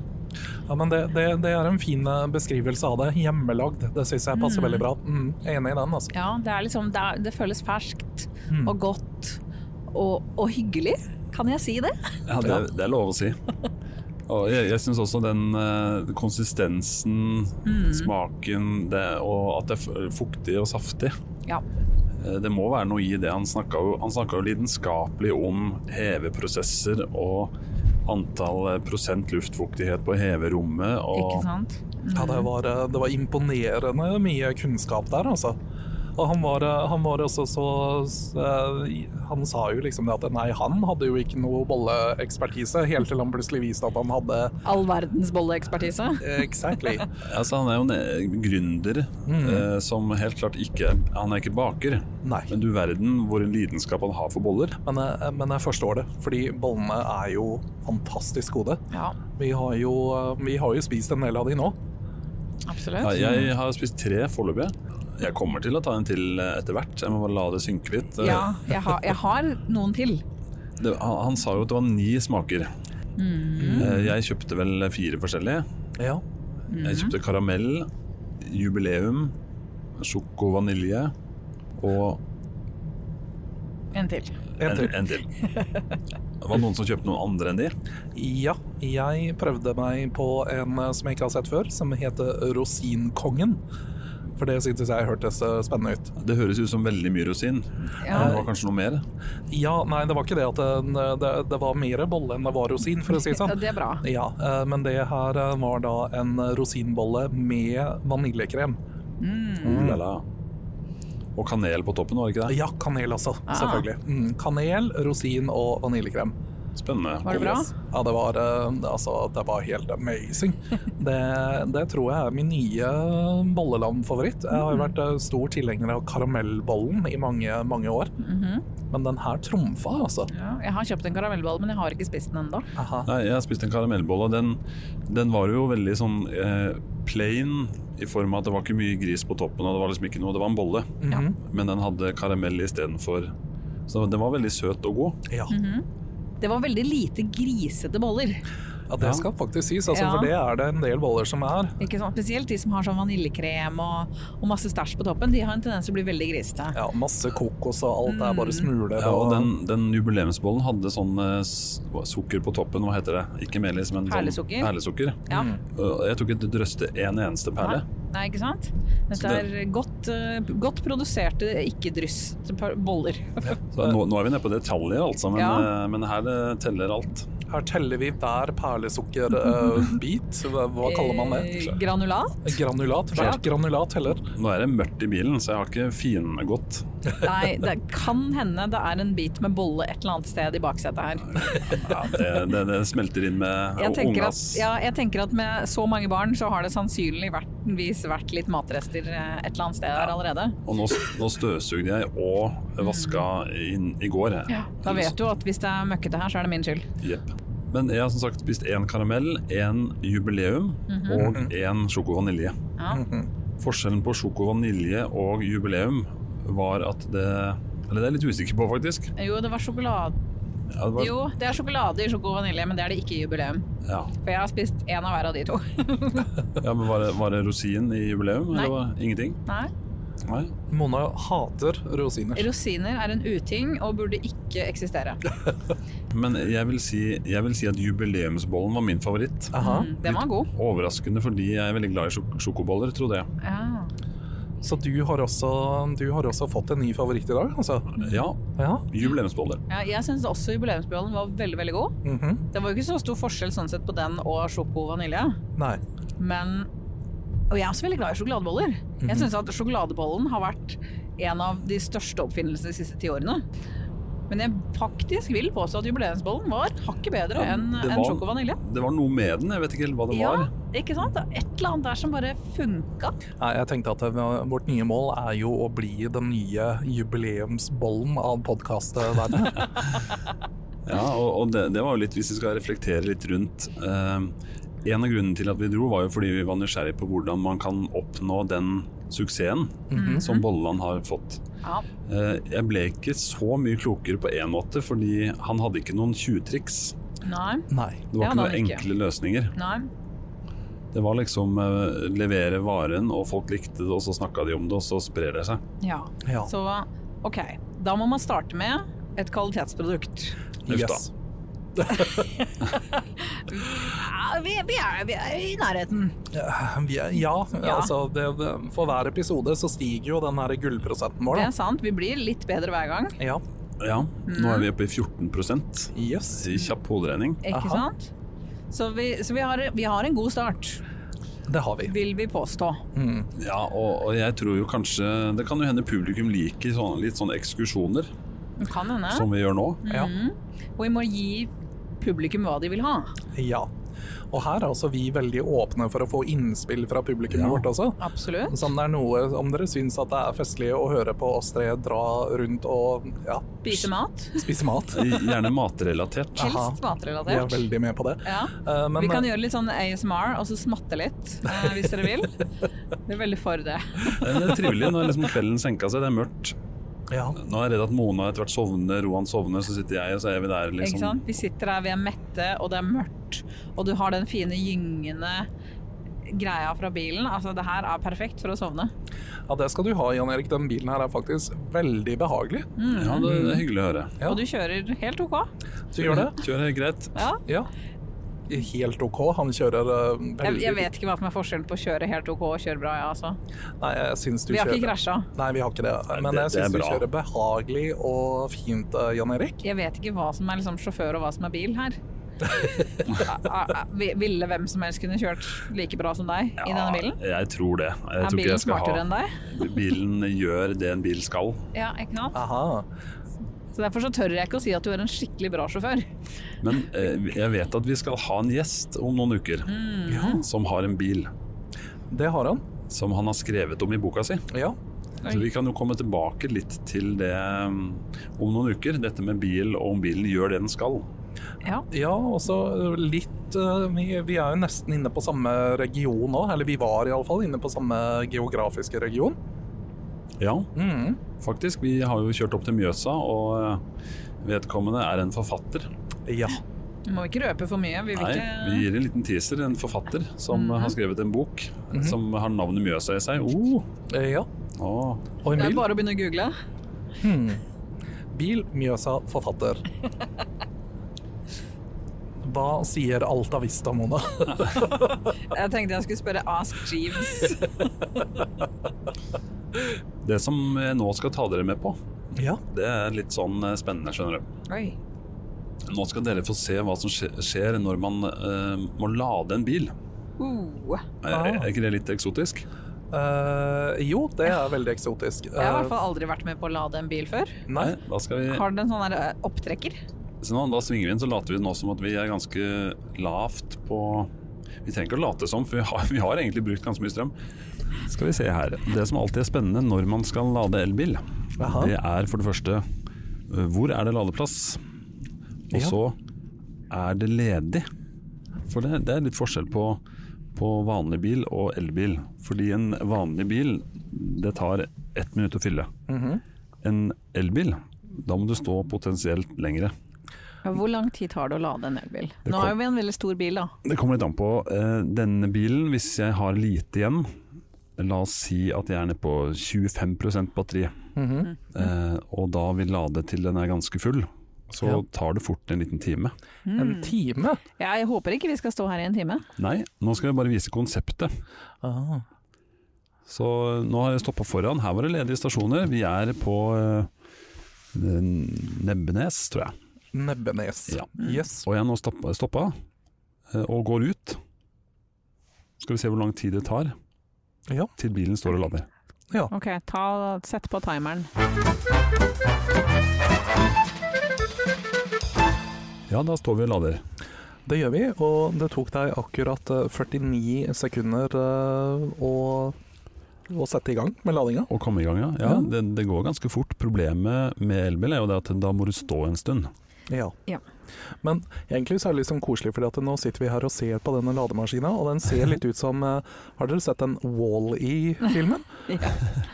Speaker 4: Ja, men det, det, det er en fin eh, beskrivelse av det. Hjemmelagd. Det syns jeg passer veldig bra. Mm, jeg er enig i den, altså.
Speaker 3: Ja, det, er liksom, det, er, det føles ferskt
Speaker 4: Mm.
Speaker 3: og godt og, og hyggelig. Kan jeg si det?
Speaker 2: Ja, det, det er lov å si. Og jeg jeg syns også den eh, konsistensen,
Speaker 3: Mm.
Speaker 2: smaken det, og at det er f- fuktig og saftig.
Speaker 3: Ja.
Speaker 2: Eh, Det må være noe i det. Han snakka jo, han snakka jo lidenskapelig om heveprosesser og antall eh, prosent luftfuktighet på heverommet.
Speaker 3: Ikke
Speaker 2: Og
Speaker 3: sant?
Speaker 4: Ja, det var, eh, det var imponerende mye kunnskap der, altså. Og han var, eh, han var også så s- eh, Han sa jo liksom det at nei, han hadde jo ikke noe bolleekspertise, helt til han plutselig viste at han hadde eh,
Speaker 3: All verdens bolleekspertise.
Speaker 4: Exactly.
Speaker 2: altså, han er jo en eh, gründer eh, som helt klart ikke Han er ikke baker,
Speaker 4: Nei.
Speaker 2: men du verden hvor en lidenskap han har for boller.
Speaker 4: Men, jeg- men jeg forstår det, fordi bollene er jo fantastisk gode.
Speaker 3: Ja,
Speaker 4: Vi har jo, eh, vi har jo spist en del av de nå.
Speaker 2: Ja,
Speaker 3: absolutt.
Speaker 2: jeg har spist tre foreløpig. Jeg kommer til å ta en til eh, etter hvert. Jeg må bare la det synke litt. Eh,
Speaker 3: Ja, jeg har, jeg har noen til.
Speaker 2: Det, han, han sa jo at det var ni smaker. Eh, Jeg kjøpte vel fire forskjellige.
Speaker 4: Ja.
Speaker 2: Jeg kjøpte karamell, jubileum, sjoko vanilje og
Speaker 3: En til.
Speaker 4: En
Speaker 2: en,
Speaker 4: til.
Speaker 2: en til. Det var noen som kjøpte noen andre enn de.
Speaker 4: Ja, jeg prøvde meg på en eh, som jeg ikke har sett før, som heter Rosinkongen. For det syntes jeg hørtes eh, spennende ut.
Speaker 2: Det høres ut som veldig mye rosin. Men
Speaker 3: Ja.
Speaker 2: det var kanskje noe mer.
Speaker 4: Ja, nei, det var ikke det at det, det, det var mer bolle enn det var rosin, for å si det
Speaker 3: Ja,
Speaker 4: sånn.
Speaker 3: det er bra.
Speaker 4: Ja, eh, men det her eh, var da en rosinbolle med vaniljekrem.
Speaker 2: La, la. Og kanel på toppen, var det ikke det?
Speaker 3: Ah.
Speaker 4: Ja, kanel også, selvfølgelig. Mm, kanel, rosin og vaniljekrem.
Speaker 2: Spennende.
Speaker 3: Var det bra?
Speaker 4: Ja, det var, eh, det- altså, det var helt amazing. Det, det tror jeg er min nye bollelandfavoritt. Jeg har jo vært eh, stor tilhenger av karamellbollen i mange, mange år. Men den her trumfa, altså.
Speaker 3: Mhm. Ja, jeg har kjøpt en karamellbolle, men jeg har ikke spist den ennå.
Speaker 4: Aha.
Speaker 2: Nei, jeg spiste en karamellbolle. og Den, den var jo veldig sånn eh, plain i form av at det var ikke mye gris på toppen, og det var liksom ikke noe, det var en bolle.
Speaker 4: Mhm.
Speaker 2: Men den hadde karamell istedenfor. Så den var veldig søt og god.
Speaker 4: ja.
Speaker 3: Mhm. Det var veldig lite grisete boller.
Speaker 4: ja,
Speaker 2: Ja.
Speaker 4: det skal faktisk sies, altså,
Speaker 3: Ja.
Speaker 4: for det er det en del boller som er.
Speaker 3: Ikke sant? Spesielt de som har sånn vaniljekrem og, og masse stæsj på toppen. De har en tendens til å bli veldig grisete.
Speaker 4: Ja, masse kokos og alt er
Speaker 3: Mm.
Speaker 4: bare smuler.
Speaker 2: Ja, og den, den jubileumsbollen hadde sånn eh, s- hva- sukker på toppen, hva heter det? Ikke melis, men sånn
Speaker 3: Perlesukker.
Speaker 2: perlesukker.
Speaker 3: Ja.
Speaker 4: Mm,
Speaker 2: Og Jeg tok ikke drøste en eneste perle.
Speaker 3: Nei, ikke sant?
Speaker 2: Så
Speaker 3: Dette
Speaker 2: det-
Speaker 3: er godt, eh, godt produserte, ikke dryst boller.
Speaker 2: Så nå, nå er vi nede på detaljer, altså, men,
Speaker 3: Ja.
Speaker 2: eh, men her eh, teller alt.
Speaker 4: Her teller vi hver perlesukkerbit. hva, hva kaller man
Speaker 3: Eh,
Speaker 4: det?
Speaker 3: Granulat?
Speaker 4: Granulat. Hvert granulat teller.
Speaker 2: Nå er det mørkt i bilen, så jeg har ikke fingått.
Speaker 3: Nei, det kan hende det er en bit med bolle et eller annet sted i baksetet her.
Speaker 2: Ja, det, det, det smelter inn med
Speaker 3: Jeg tenker, at,
Speaker 2: ungas
Speaker 3: ja, jeg tenker at med så mange barn, så har det sannsynligvis vært litt matrester eh, et eller annet sted her allerede.
Speaker 2: Og nå, nå støvsugde jeg og vaska inn i går. jeg.
Speaker 3: Da vet du at hvis det er møkkete her, så er det min skyld.
Speaker 2: Jepp. Men jeg har som sagt spist én karamell, én jubileum
Speaker 3: Mhm.
Speaker 2: og én sjoko-vanilje.
Speaker 3: Ja.
Speaker 2: Forskjellen på sjoko-vanilje og jubileum var at det Eller det er jeg litt usikker på, faktisk.
Speaker 3: Jo, det var sjokolade.
Speaker 2: Ja, det var,
Speaker 3: Jo, det er sjokolade i sjoko og vanilje, men det er det ikke i jubileum.
Speaker 2: Ja.
Speaker 3: For jeg har spist én av hver av de to.
Speaker 2: ja, men var det, var det rosin i jubileum,
Speaker 3: Nei.
Speaker 2: eller var det ingenting?
Speaker 3: Nei.
Speaker 2: Nei.
Speaker 4: Mona hater rosiner.
Speaker 3: Rosiner er en uting og burde ikke eksistere.
Speaker 2: Men jeg vil si, jeg vil si at jubileumsbollen var min favoritt.
Speaker 4: Aha.
Speaker 3: Mm, Den var god.
Speaker 2: Overraskende fordi jeg er veldig glad i sjok sjokoboller, trodde jeg.
Speaker 3: Ja.
Speaker 4: Så du har, også, du har også fått en ny favoritt i dag, altså?
Speaker 2: Ja,
Speaker 4: Ja.
Speaker 2: jubileumsboller.
Speaker 3: Ja, jeg syns også jubileumsbollen var veldig veldig god.
Speaker 4: Mhm.
Speaker 3: Det var jo ikke så stor forskjell sånn sett på den og sjoko og vanilje.
Speaker 4: Nei.
Speaker 3: Men Og jeg er også veldig glad i sjokoladeboller. Jeg syns at sjokoladebollen har vært en av de største oppfinnelsene de siste ti årene. Men jeg faktisk vil påstå at jubileumsbollen var hakket bedre
Speaker 2: Ja,
Speaker 3: enn
Speaker 2: det
Speaker 3: enn
Speaker 2: var-
Speaker 3: sjoko og vanilje.
Speaker 2: Det var noe med den, jeg vet ikke helt hva det
Speaker 3: Ja,
Speaker 2: var.
Speaker 3: ikke sant? Det er et eller annet der som bare funka.
Speaker 4: Nei, jeg tenkte at det, vårt nye mål er jo å bli den nye jubileumsbollen av podkastverdenen.
Speaker 2: Ja, og, og det, det var jo litt, hvis vi skal reflektere litt rundt eh, En av grunnene til at vi dro var jo fordi vi var nysgjerrig på hvordan man kan oppnå den suksessen
Speaker 3: Mhm.
Speaker 2: som Bolleland har fått.
Speaker 3: Ja.
Speaker 2: Eh, jeg ble ikke så mye klokere på én måte, fordi han hadde ikke noen tjuvtriks.
Speaker 3: Nei.
Speaker 4: Nei.
Speaker 2: Det var ikke
Speaker 3: Ja, da
Speaker 2: noen
Speaker 3: han ikke.
Speaker 2: enkle løsninger.
Speaker 3: Nei.
Speaker 2: Det var liksom eh, levere varen, og folk likte det, og så snakka de om det, og så sprer det seg.
Speaker 3: Ja.
Speaker 4: Ja.
Speaker 3: Så ok, da må man starte med et kvalitetsprodukt.
Speaker 2: Uff da.
Speaker 4: Yes.
Speaker 3: Ja, vi, vi, er, vi er i nærheten.
Speaker 4: Eh, vi er- Ja,
Speaker 3: Ja.
Speaker 4: altså det, det- For hver episode så stiger jo den her gullprosenten vår,
Speaker 3: Det
Speaker 4: da.
Speaker 3: er sant, vi blir litt bedre hver gang.
Speaker 4: Ja.
Speaker 2: Ja, nå er vi oppe i 14
Speaker 4: Yes.
Speaker 2: i kjapp hoderegning.
Speaker 3: Ikke
Speaker 4: Aha.
Speaker 3: sant? Så, vi, så vi, har, vi har en god start,
Speaker 4: Det har vi.
Speaker 3: vil vi påstå.
Speaker 4: Mm.
Speaker 2: Ja, og, og jeg tror jo kanskje Det kan jo hende publikum liker sånne, litt sånne ekskursjoner
Speaker 3: Det kan hende.
Speaker 2: som vi gjør nå.
Speaker 4: Ja.
Speaker 3: Og vi må gi publikum hva de vil ha.
Speaker 4: ja. Og her er også vi veldig åpne for å få innspill fra publikummet
Speaker 2: Ja.
Speaker 4: vårt også.
Speaker 3: Absolutt.
Speaker 4: Så om det er noe om dere syns at det er festlig å høre på oss tre dra rundt og ja,
Speaker 3: Spise mat.
Speaker 4: spise mat.
Speaker 2: Gjerne matrelatert.
Speaker 4: Aha.
Speaker 3: Helst
Speaker 4: Vi er
Speaker 3: matrelatert.
Speaker 4: veldig med på det.
Speaker 3: Ja.
Speaker 4: Eh, men
Speaker 3: Vi kan gjøre litt sånn ASMR og så smatte litt, eh, hvis dere vil. Vi er veldig for det.
Speaker 2: Det er trivelig når liksom kvelden senka seg, det er mørkt.
Speaker 4: ja,
Speaker 2: Nå er jeg redd at Mona etter hvert sovner, Roan sovner, så sitter jeg og så er vi der
Speaker 3: Ikke
Speaker 2: liksom.
Speaker 3: sant? Vi sitter her, vi er mette, og det er mørkt, og du har den fine gyngende greia fra bilen. Altså, det her er perfekt for å sovne.
Speaker 4: ja, det skal du ha, Jan Erik. Den bilen her er faktisk veldig behagelig.
Speaker 2: Ja, det det er hyggelig å høre. Mm,
Speaker 4: Ja.
Speaker 3: Og du kjører helt OK.
Speaker 4: Du gjør
Speaker 3: Mm.
Speaker 4: det?
Speaker 2: Kjører greit.
Speaker 3: Ja.
Speaker 4: Ja. Helt OK. Han kjører eh, veldig
Speaker 3: Jeg, jeg vet ikke hva som er forskjellen på å kjøre helt OK og kjøre bra, ja, altså.
Speaker 4: Nei, jeg syns du
Speaker 3: Vi har
Speaker 4: kjører
Speaker 3: ikke krasja.
Speaker 4: Nei, vi har ikke det. Men
Speaker 2: det-
Speaker 4: jeg
Speaker 2: det er
Speaker 4: syns du
Speaker 2: bra.
Speaker 4: kjører behagelig og fint, eh, Jan Erik.
Speaker 3: Jeg vet ikke hva som er liksom, sjåfør og hva som er bil her. Er- er- er- vi- Ville hvem som helst kunne kjørt like bra som deg i denne bilen?
Speaker 2: Ja, jeg tror det. Jeg
Speaker 3: Er
Speaker 2: tror ikke
Speaker 3: bilen
Speaker 2: jeg skal
Speaker 3: smartere enn
Speaker 2: ha
Speaker 3: deg?
Speaker 2: Bilen gjør det en bil skal.
Speaker 3: Ja, ikke sant?
Speaker 4: Aha.
Speaker 3: Så derfor så tør jeg ikke å si at du er en skikkelig bra sjåfør.
Speaker 2: Men eh, jeg vet at vi skal ha en gjest om noen uker som har en bil
Speaker 4: Det har han.
Speaker 2: som han har skrevet om i boka si.
Speaker 4: Ja.
Speaker 2: Så vi kan jo komme tilbake litt til det um, om noen uker. Dette med bil, og om bilen gjør det den skal.
Speaker 3: Ja.
Speaker 4: Ja, også litt eh, Vi, vi er jo nesten inne på samme region nå, eller vi var iallfall inne på samme geografiske region.
Speaker 2: Ja,
Speaker 4: Mm.
Speaker 2: faktisk. Vi har jo kjørt opp til Mjøsa, og eh, vedkommende er en forfatter.
Speaker 4: Ja.
Speaker 3: Vi må ikke røpe for mye. Vi vil
Speaker 2: Nei, vi
Speaker 3: ikke
Speaker 2: gir en liten teaser. En forfatter som
Speaker 3: Mhm.
Speaker 2: har skrevet en bok
Speaker 4: Mm. Mhm.
Speaker 2: som har navnet Mjøsa i seg. Oh,
Speaker 4: Eh, ja.
Speaker 2: å,
Speaker 4: Og
Speaker 3: Det
Speaker 4: en
Speaker 3: er
Speaker 4: bil.
Speaker 3: bare å begynne å google.
Speaker 4: Hmm. Bil, Mjøsa, forfatter. Hva sier Alta Vista, Mona?
Speaker 3: Jeg tenkte jeg skulle spørre Ask Jeeves.
Speaker 2: Det som jeg nå skal ta dere med på,
Speaker 4: Ja.
Speaker 2: det er litt sånn eh, spennende, skjønner du.
Speaker 3: Oi.
Speaker 2: Nå skal dere få se hva som skje- skjer når man eh, må lade en bil.
Speaker 3: Uh.
Speaker 2: Er, er ikke det litt eksotisk?
Speaker 4: Eh, jo, det er veldig eksotisk.
Speaker 3: Jeg har i
Speaker 4: Eh,
Speaker 3: hvert fall aldri vært med på å lade en bil før.
Speaker 4: Nei.
Speaker 2: Da skal vi
Speaker 3: Har den en sånn der, eh, opptrekker?
Speaker 2: Så nå, da svinger vi inn, så later vi nå som at vi er ganske lavt på Vi trenger ikke å late som, for vi har, vi har egentlig brukt ganske mye strøm. Skal vi se her. Det som alltid er spennende når man skal lade elbil,
Speaker 4: Aha.
Speaker 2: det er for det første øh, hvor er det ladeplass? Og
Speaker 4: Ja.
Speaker 2: så er det ledig? For det, det er litt forskjell på, på vanlig bil og elbil. Fordi en vanlig bil, det tar ett minutt å fylle.
Speaker 4: Mhm.
Speaker 2: En elbil, da må du stå potensielt lengre.
Speaker 3: Ja, Hvor lang tid tar det å lade en elbil?
Speaker 2: Det
Speaker 3: Nå
Speaker 2: kom-
Speaker 3: har vi en veldig stor bil, da.
Speaker 2: Det kommer litt an på eh, denne bilen. Hvis jeg har lite igjen, la oss si at jeg er nede på 25 batteri,
Speaker 4: Mhm.
Speaker 2: eh, og da vil lade til den er ganske full, så
Speaker 4: Ja.
Speaker 2: tar det fort en liten time.
Speaker 3: Mhm.
Speaker 4: En time?
Speaker 3: Jeg håper ikke vi skal stå her i en time.
Speaker 2: Nei, nå skal jeg bare vise konseptet.
Speaker 4: Ah.
Speaker 2: Så eh, nå har jeg stoppa foran. Her var det ledige stasjoner. Vi er på eh, Nebbenes, tror jeg.
Speaker 4: Nebbenes.
Speaker 2: Ja.
Speaker 4: Yes.
Speaker 2: Og jeg har nå stoppa, stoppa eh, og går ut. Skal vi se hvor lang tid det tar
Speaker 4: Ja.
Speaker 2: til bilen står og lader.
Speaker 3: Ok, Sett på timeren.
Speaker 2: Ja, da står vi og lader.
Speaker 4: Det gjør vi, og det tok deg akkurat eh, 49 sekunder eh, å, å sette i gang med ladinga.
Speaker 2: Å komme i gang, ja. ja,
Speaker 4: Ja.
Speaker 2: Det, det går ganske fort. Problemet med elbil er jo det at da må du stå en stund.
Speaker 4: Ja.
Speaker 3: Ja.
Speaker 4: Men egentlig så er det litt sånn koselig, fordi at nå sitter vi her og ser på denne lademaskina, og den ser litt ut som eh, Har dere sett den Wall-E-filmen?
Speaker 3: Ja.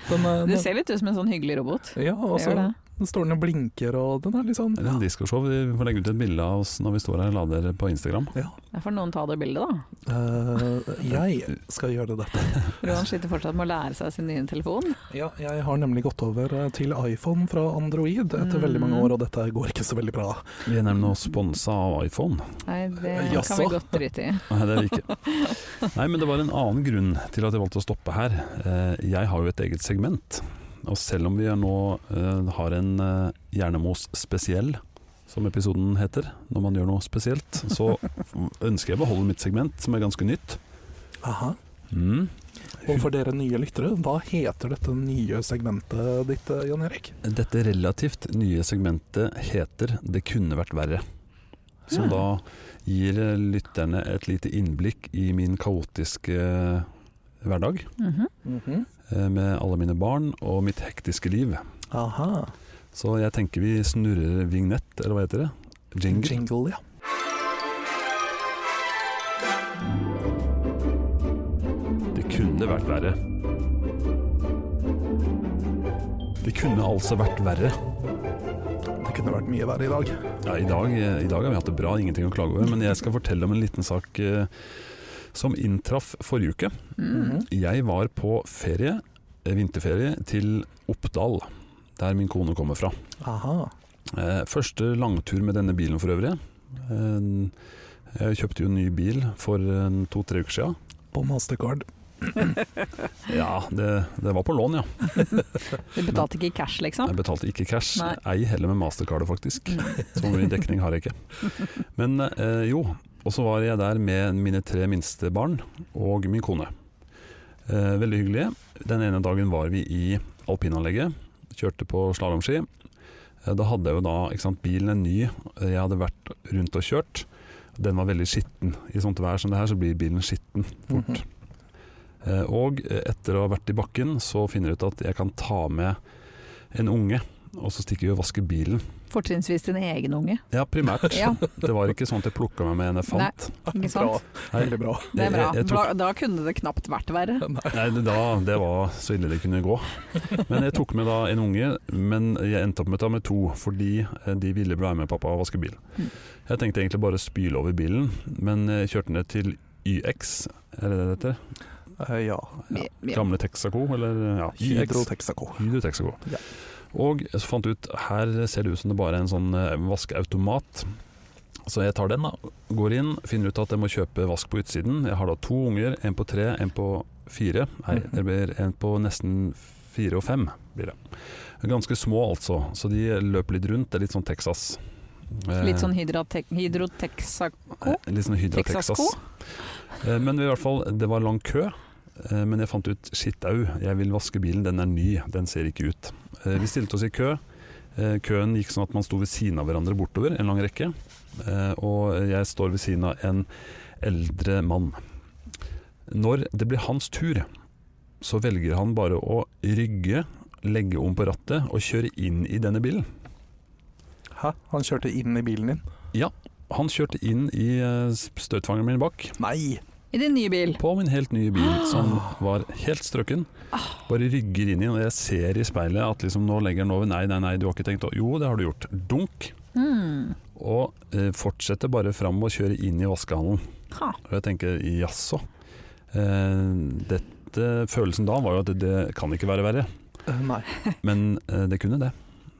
Speaker 4: Den, eh,
Speaker 3: Det
Speaker 4: den-
Speaker 3: ser litt ut som en sånn hyggelig robot.
Speaker 4: ja, og så
Speaker 3: Gjør det.
Speaker 4: den står den og blinker, og den er litt sånn
Speaker 2: Det er en diskoshow. Vi får legge ut et bilde av oss når vi står her og lader på Instagram.
Speaker 4: Ja.
Speaker 3: Der får noen ta det bildet, da.
Speaker 4: eh, jeg skal gjøre dette.
Speaker 3: Roan sliter fortsatt med å lære seg sin nye telefon.
Speaker 4: Ja, jeg har nemlig gått over eh, til iPhone fra Android etter
Speaker 3: Mm.
Speaker 4: veldig mange år, og dette går ikke så veldig bra.
Speaker 2: Vi er nemlig sponsa av iPhone.
Speaker 3: Nei, det
Speaker 4: Jaså.
Speaker 3: kan vi godt drite i.
Speaker 2: Nei, det er vi ikke. Nei, men det var en annen grunn til at jeg valgte å stoppe her. Eh, Jeg har jo et eget segment. Og selv om vi nå eh, har en eh, Hjernemos spesiell, som episoden heter, når man gjør noe spesielt, så ønsker jeg å beholde mitt segment, som er ganske nytt.
Speaker 4: Aha.
Speaker 2: Mm.
Speaker 4: Og for dere nye lyttere, hva heter dette nye segmentet ditt, eh, Jan Erik?
Speaker 2: Dette relativt nye segmentet heter 'Det kunne vært verre'. Som da gir lytterne et lite innblikk i min kaotiske eh, hverdag.
Speaker 3: Mhm.
Speaker 2: eh, Med alle mine barn og mitt hektiske liv.
Speaker 4: Aha.
Speaker 2: Så jeg tenker vi snurrer vignett, eller hva heter det? Jingle.
Speaker 4: Jingle, ja.
Speaker 2: Det kunne vært verre. Det kunne altså vært verre.
Speaker 4: Det kunne vært mye verre i dag.
Speaker 2: Ja, i, dag, eh, I dag har vi hatt det bra, ingenting å klage over. Men jeg skal fortelle om en liten sak eh, som inntraff forrige uke.
Speaker 3: Mm.
Speaker 4: Mhm.
Speaker 2: Jeg var på ferie, eh, vinterferie, til Oppdal, der min kone kommer fra.
Speaker 4: Aha.
Speaker 2: Eh, første langtur med denne bilen for øvrig. Eh, jeg kjøpte jo en ny bil for eh, to-tre uker siden.
Speaker 4: På mastercard.
Speaker 2: Ja, det, det var på lån, ja.
Speaker 3: Du betalte ikke i cash, liksom?
Speaker 2: Jeg betalte ikke cash,
Speaker 3: Nei.
Speaker 2: ei heller med mastercardet faktisk. Så mye dekning har jeg ikke. Men eh, jo, og så var jeg der med mine tre minste barn og min kone. Eh, veldig hyggelig. Den ene dagen var vi i alpinanlegget, kjørte på slalåmski. Eh, Da hadde jeg jo da ikke sant, bilen er ny, jeg hadde vært rundt og kjørt. Den var veldig skitten. I sånt vær som det her, så blir bilen skitten fort.
Speaker 4: Mhm.
Speaker 2: Eh, Og eh, etter å ha vært i bakken, så finner jeg ut at jeg kan ta med en unge, og så stikker vi og vasker bilen.
Speaker 3: Fortrinnsvis din egen unge.
Speaker 2: Ja, primært.
Speaker 3: Ja,
Speaker 2: Det var ikke sånn at jeg plukka meg med en jeg fant.
Speaker 3: ikke
Speaker 4: Bra.
Speaker 3: sant?
Speaker 2: Nei,
Speaker 4: Veldig bra.
Speaker 3: Det er bra.
Speaker 2: Jeg, jeg tok
Speaker 3: Da, da kunne det knapt vært verre.
Speaker 2: Nei, det, da, det var så ille det kunne gå. Men jeg tok med da en unge, men jeg endte opp med å ta med to, fordi eh, de ville være med pappa og vaske bil.
Speaker 3: Mm.
Speaker 2: Jeg tenkte egentlig bare å spyle over bilen, men jeg kjørte ned til YX, er det det heter?
Speaker 4: Eh, ja.
Speaker 3: Ja.
Speaker 2: Gamle Texaco, eller ja,
Speaker 4: Hydro
Speaker 2: YX.
Speaker 4: Texaco.
Speaker 2: Hydro Texaco.
Speaker 4: Ja.
Speaker 2: Og så fant jeg ut, her ser det ut som det bare er en sånn eh, vaskeautomat. Så jeg tar den da, går inn, finner ut at jeg må kjøpe vask på utsiden. Jeg har da to unger, en på tre, en på fire. Nei, det blir en på nesten fire og fem blir det. Ganske små altså, så de løper litt rundt, det er litt sånn Texas. Eh,
Speaker 3: Litt sånn hydrotek- hydroteksak...
Speaker 2: eh, Litt sånn Hydra Texas.
Speaker 3: Texas-ko?
Speaker 2: Eh, Men i hvert fall, det var lang kø. Eh, Men jeg fant ut shit au, jeg vil vaske bilen, den er ny, den ser ikke ut. Eh, Vi stilte oss i kø. Eh, Køen gikk sånn at man sto ved siden av hverandre bortover, en lang rekke. Eh, Og jeg står ved siden av en eldre mann. Når det blir hans tur, så velger han bare å rygge, legge om på rattet og kjøre inn i denne bilen.
Speaker 4: Hæ? Han kjørte inn i bilen din?
Speaker 2: Han kjørte inn i eh, støtfangeren min bak.
Speaker 4: Nei!
Speaker 3: I din nye bil.
Speaker 2: på min helt nye bil, som var helt strøkken. Bare rygger inn i, og jeg ser i speilet at liksom nå legger den over. Nei, nei, nei, du har ikke tenkt å Jo, det har du gjort. Dunk.
Speaker 3: Hmm.
Speaker 2: Og eh, fortsetter bare fram og kjører inn i vaskehallen.
Speaker 3: Ha.
Speaker 2: Og jeg tenker jaså. Eh, dette Følelsen da var jo at det, det kan ikke være verre,
Speaker 4: Eh, nei.
Speaker 2: men eh, det kunne det.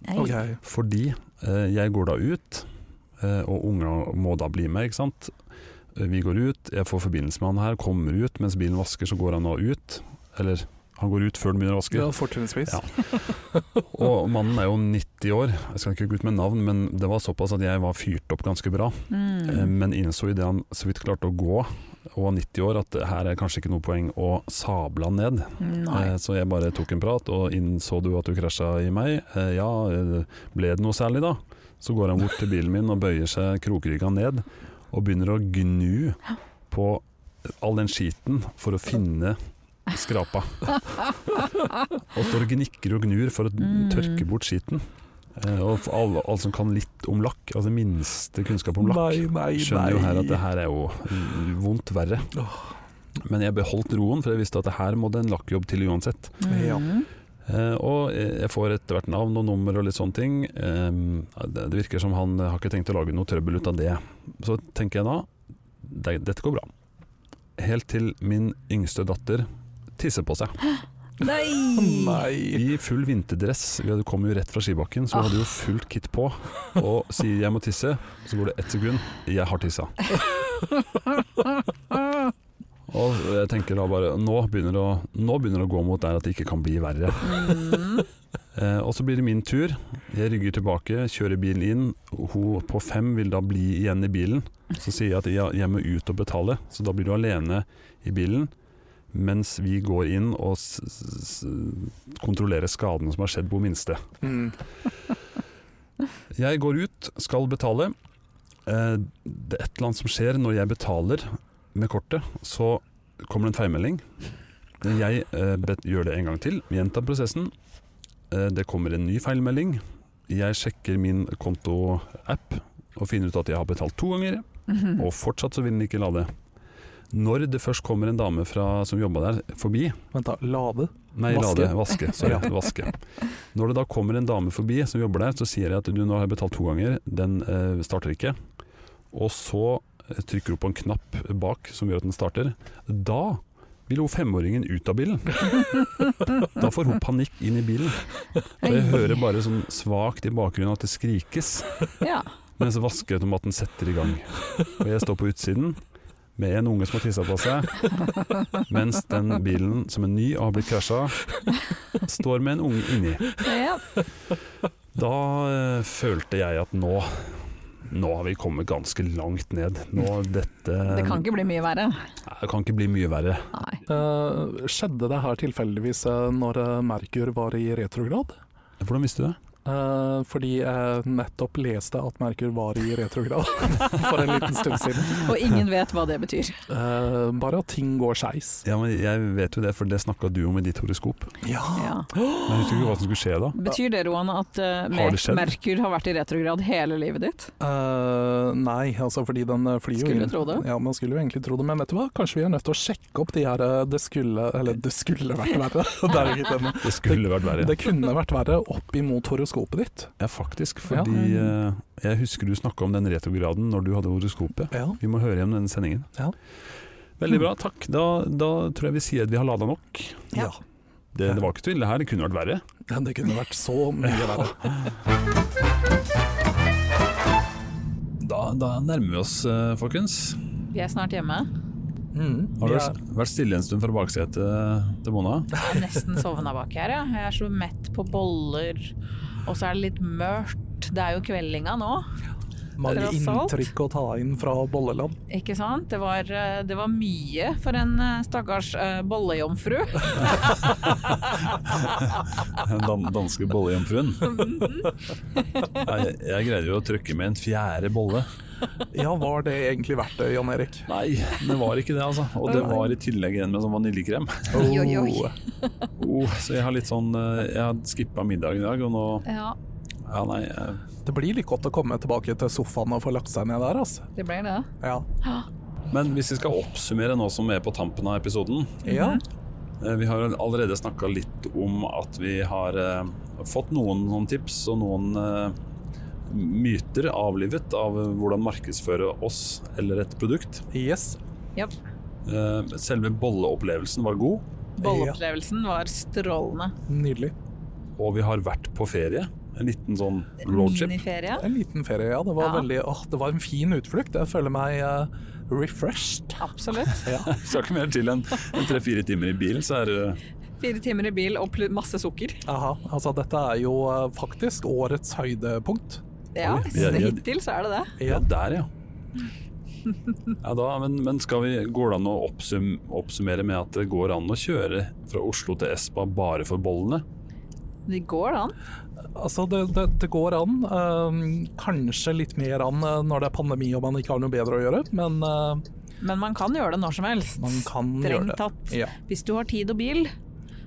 Speaker 3: Nei.
Speaker 4: Ok.
Speaker 2: Fordi eh, jeg går da ut, eh, og unga må da bli med, ikke sant. Eh, Vi går ut, jeg får forbindelse med han her, kommer ut. Mens bilen vasker, så går han da ut. Eller han går ut før den begynner å vaske.
Speaker 4: Ja, fortrinnsvis.
Speaker 2: Ja. Og mannen er jo 90 år, jeg skal ikke gå ut med navn, men det var såpass at jeg var fyrt opp ganske bra. Eh,
Speaker 3: Hmm.
Speaker 2: Men innså idet han så vidt klarte å gå, og var 90 år, at her er kanskje ikke noe poeng å sable han ned.
Speaker 3: Nei.
Speaker 2: Eh, Så jeg bare tok en prat, og innså du at du krasja i meg? Eh, Ja, eh, ble det noe særlig da? Så går han bort til bilen min og bøyer seg krokrygga ned, og begynner å gnu på all den skiten for å finne skrapa. Og står og gnikker og gnur for å
Speaker 3: Mm.
Speaker 2: tørke bort skiten. Eh, Og for alle, alle som kan litt om lakk, altså minste kunnskap om lakk,
Speaker 4: Nei, nei,
Speaker 2: skjønner
Speaker 4: nei.
Speaker 2: jo her at det her er jo mm, vondt verre. Men jeg beholdt roen, for jeg visste at det her må det en lakkjobb til uansett.
Speaker 4: Ja.
Speaker 3: Hmm.
Speaker 2: Eh, og jeg får etter hvert navn og nummer og litt sånne ting. Eh, det det virker som han har ikke tenkt å lage noe trøbbel ut av det. Så tenker jeg da det, dette går bra. Helt til min yngste datter tisser på seg.
Speaker 3: Nei.
Speaker 2: I
Speaker 4: Nei.
Speaker 2: full vinterdress. Vi hadde kommet jo rett fra skibakken, så vi hadde jo fullt kit på. Og sier 'jeg må tisse', så går det ett sekund. 'Jeg har tissa'. Og jeg tenker da bare Nå begynner det å, nå begynner det å gå mot der at det ikke kan bli verre.
Speaker 3: Hmm.
Speaker 2: Eh, og så blir det min tur. Jeg rygger tilbake, kjører bilen inn. Hun på fem vil da bli igjen i bilen. Så sier jeg at jeg, jeg må ut og betale, så da blir du alene i bilen. Mens vi går inn og s s s kontrollerer skadene som har skjedd på minste.
Speaker 4: Mm.
Speaker 2: Jeg går ut, skal betale. Eh, det er et eller annet som skjer når jeg betaler med kortet. Så kommer det en feilmelding. Jeg eh, bet- gjør det en gang til, gjentar prosessen. Eh, det kommer en ny feilmelding. Jeg sjekker min kontoapp og finner ut at jeg har betalt to ganger,
Speaker 3: Mm.
Speaker 2: og fortsatt så vil den ikke lade. Når det først kommer en dame fra, som jobba der, forbi,
Speaker 4: Vent, da. Lade?
Speaker 2: Nei,
Speaker 4: Vaske.
Speaker 2: lade, vaske. Sorry,
Speaker 4: Ja.
Speaker 2: vaske. Når det da kommer en dame forbi som jobber der, så sier jeg at du nå har jeg betalt to ganger, den eh, starter ikke. Og så eh, trykker hun på en knapp bak som gjør at den starter. Da vil hun femåringen ut av bilen. Da får hun panikk inn i bilen. Og jeg hører bare sånn svakt i bakgrunnen at det skrikes
Speaker 3: Ja.
Speaker 2: mens vaskeautomaten setter i gang. Og jeg står på utsiden med en unge som har tissa på seg, mens den bilen som er ny og har blitt krasja, står med en unge inni.
Speaker 3: Ja.
Speaker 2: Da eh, følte jeg at nå nå har vi kommet ganske langt ned. Nå dette
Speaker 3: Det kan ikke bli mye verre.
Speaker 2: Nei, det kan ikke bli mye verre.
Speaker 3: Nei.
Speaker 4: Eh, skjedde det her tilfeldigvis eh, når eh, Merkur var i retrograd?
Speaker 2: Hvordan visste du det?
Speaker 4: Eh, fordi jeg nettopp leste at Merkur var i retrograd for en liten stund siden.
Speaker 3: Og ingen vet hva det betyr.
Speaker 4: Eh, bare at ting går skeis.
Speaker 2: Ja, men Jeg vet jo det, for det snakka du om i ditt horoskop. Men
Speaker 4: Ja.
Speaker 3: Ja.
Speaker 2: jeg husker ikke hva som skulle skje da.
Speaker 3: Betyr det, Roan, at eh,
Speaker 2: Har det skjedd?
Speaker 3: Merkur har vært i retrograd hele livet ditt?
Speaker 4: Eh, nei, altså fordi den eh, flyr jo
Speaker 3: Skulle
Speaker 4: inn-
Speaker 3: tro det.
Speaker 4: Ja, man skulle jo egentlig tro det, men vet du hva? Kanskje vi er nødt til å sjekke opp de her eh, Det skulle Eller det skulle vært verre. det er jo ikke den.
Speaker 2: Det skulle vært verre.
Speaker 4: Det kunne vært verre opp imot horoskopet ditt.
Speaker 2: Ja, faktisk. Fordi eh, jeg husker du snakka om den retrograden når du hadde horoskopet.
Speaker 4: Ja.
Speaker 2: Vi må høre igjen denne sendingen.
Speaker 4: Ja.
Speaker 2: Veldig bra, takk. Da, da tror jeg vi sier at vi har lada nok.
Speaker 4: ja.
Speaker 2: Det, det var ikke så ille her, det kunne vært verre.
Speaker 4: Ja, Det kunne vært så mye verre.
Speaker 2: Da, da nærmer vi oss, eh, folkens.
Speaker 3: Vi er snart hjemme.
Speaker 4: Mm,
Speaker 2: Har du
Speaker 4: vi
Speaker 2: vært-
Speaker 4: er-
Speaker 2: vært stille en stund fra baksetet til Mona?
Speaker 3: Jeg er nesten sovna bak her, ja. Jeg er så mett på boller, og så er det litt mørkt. Det er jo kveldinga nå,
Speaker 4: mange
Speaker 3: Tross alt.
Speaker 4: inntrykk å ta inn fra Bolleland.
Speaker 3: ikke sant? Det var, eh, det var mye for en eh, stakkars eh, bollejomfru.
Speaker 2: Den dan- danske bollejomfruen. Nei, Jeg, jeg greide jo å trykke med en fjerde bolle.
Speaker 4: Ja, var det egentlig verdt det, Jan Erik?
Speaker 2: Nei, det var ikke det, altså. Og det var i tillegg en med sånn vaniljekrem.
Speaker 3: Oi, oi, oi.
Speaker 4: Oh,
Speaker 2: Oh, så jeg har litt sånn eh, Jeg har skippa middag i dag, og nå
Speaker 3: Ja,
Speaker 2: Ja, nei. eh,
Speaker 4: Det blir litt godt å komme tilbake til sofaen og få lagt seg ned der, altså.
Speaker 3: det ble det.
Speaker 4: Ja.
Speaker 2: Men hvis vi skal oppsummere nå som er på tampen av episoden
Speaker 4: ja.
Speaker 2: eh, Vi har allerede snakka litt om at vi har eh, fått noen sånne tips og noen eh, myter avlivet av hvordan markedsføre oss eller et produkt.
Speaker 4: Yes.
Speaker 3: Japp.
Speaker 2: Eh, Selve bolleopplevelsen var god,
Speaker 3: Bolleopplevelsen var strålende.
Speaker 4: Nydelig.
Speaker 2: og vi har vært på ferie. En liten sånn roadship.
Speaker 3: Miniferie.
Speaker 4: En liten ferie, ja. Det var,
Speaker 3: Ja.
Speaker 4: Veldig, åh, det var en fin utflukt. Jeg føler meg eh, refreshed.
Speaker 3: Absolutt.
Speaker 2: Skal ikke mer til enn en tre-fire timer i bil, så er det
Speaker 3: Fire timer i bil og pl- masse sukker.
Speaker 4: Aha. Altså, dette er jo eh, faktisk årets høydepunkt.
Speaker 3: Ja,
Speaker 2: Oi, vi er- vi er-
Speaker 3: hittil så er det det.
Speaker 2: Ja,
Speaker 4: Ja.
Speaker 2: der ja. ja da, men, men skal vi, går det an å oppsum, oppsummere med at det går an å kjøre fra Oslo til Espa bare for bollene?
Speaker 3: Det går an.
Speaker 4: Altså, det, det, det går an. eh, kanskje litt mer an eh, når det er pandemi og man ikke har noe bedre å gjøre, men eh,
Speaker 3: Men man kan gjøre det når som helst.
Speaker 4: man kan
Speaker 3: Strengt
Speaker 4: gjøre det.
Speaker 3: tatt.
Speaker 4: Ja.
Speaker 3: Hvis du har tid og bil,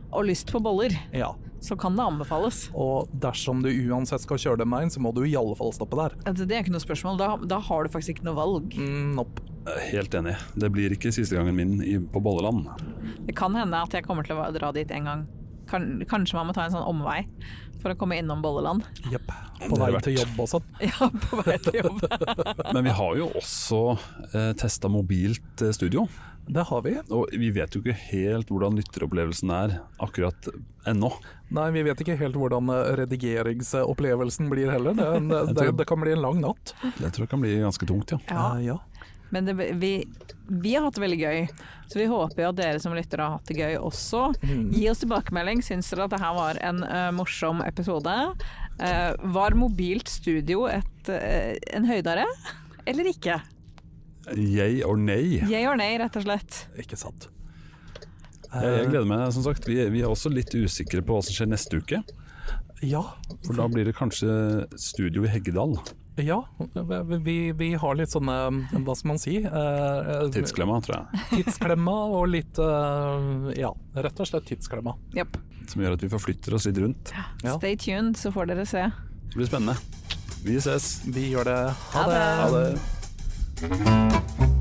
Speaker 3: og lyst på boller,
Speaker 4: ja.
Speaker 3: så kan det anbefales.
Speaker 4: Og dersom du uansett skal kjøre den veien, så må du i alle fall stoppe der.
Speaker 3: Altså, Det er ikke noe spørsmål. Da, da har du faktisk ikke noe valg.
Speaker 4: Mm, nope.
Speaker 2: Eh, Helt enig. Det blir ikke siste gangen min i, på Bolleland.
Speaker 3: Det kan hende at jeg kommer til å dra dit en gang. Kan, kanskje man må ta en sånn omvei for å komme innom Bolleland.
Speaker 4: Jepp.
Speaker 2: Det
Speaker 4: På
Speaker 2: er
Speaker 4: vei
Speaker 2: verdt.
Speaker 4: til jobb og sånn.
Speaker 3: Ja, på vei til jobb.
Speaker 2: Men vi har jo også eh, testa mobilt eh, studio,
Speaker 4: Det har vi.
Speaker 2: og vi vet jo ikke helt hvordan lytteropplevelsen er akkurat ennå.
Speaker 4: Nei, vi vet ikke helt hvordan eh, redigeringsopplevelsen blir heller. Det, det, det,
Speaker 2: tror-
Speaker 4: det kan bli en lang natt.
Speaker 2: Det tror jeg kan bli ganske tungt, ja.
Speaker 3: Ja,
Speaker 4: Eh, ja.
Speaker 3: men det, vi, vi har hatt det veldig gøy, så vi håper jo at dere som lytter har hatt det gøy også. Gi oss tilbakemelding. Syns dere at det her var en eh, morsom episode? Eh, var mobilt studio et, eh, en høydare, eller ikke?
Speaker 2: Yay or nay.
Speaker 3: Yay or nay, rett og slett.
Speaker 4: Ikke sant. Eh,
Speaker 2: Jeg, jeg gleder meg, som sagt. Vi, er- vi er også litt usikre på hva som skjer neste uke.
Speaker 4: Ja.
Speaker 2: For da blir det kanskje studio i Heggedal.
Speaker 4: ja. Vi, vi, vi har litt sånne eh, Hva skal man si? Eh, eh,
Speaker 2: Tidsklemma, tror jeg.
Speaker 4: tidsklemma og litt eh, Ja, rett og slett tidsklemma.
Speaker 3: Japp.
Speaker 2: Som gjør at vi forflytter oss litt rundt.
Speaker 4: Ja.
Speaker 3: Stay tuned, så får dere se.
Speaker 2: Det blir spennende. Vi ses.
Speaker 4: Vi gjør det.
Speaker 3: Ha det.
Speaker 4: Ha det.
Speaker 2: Ha det.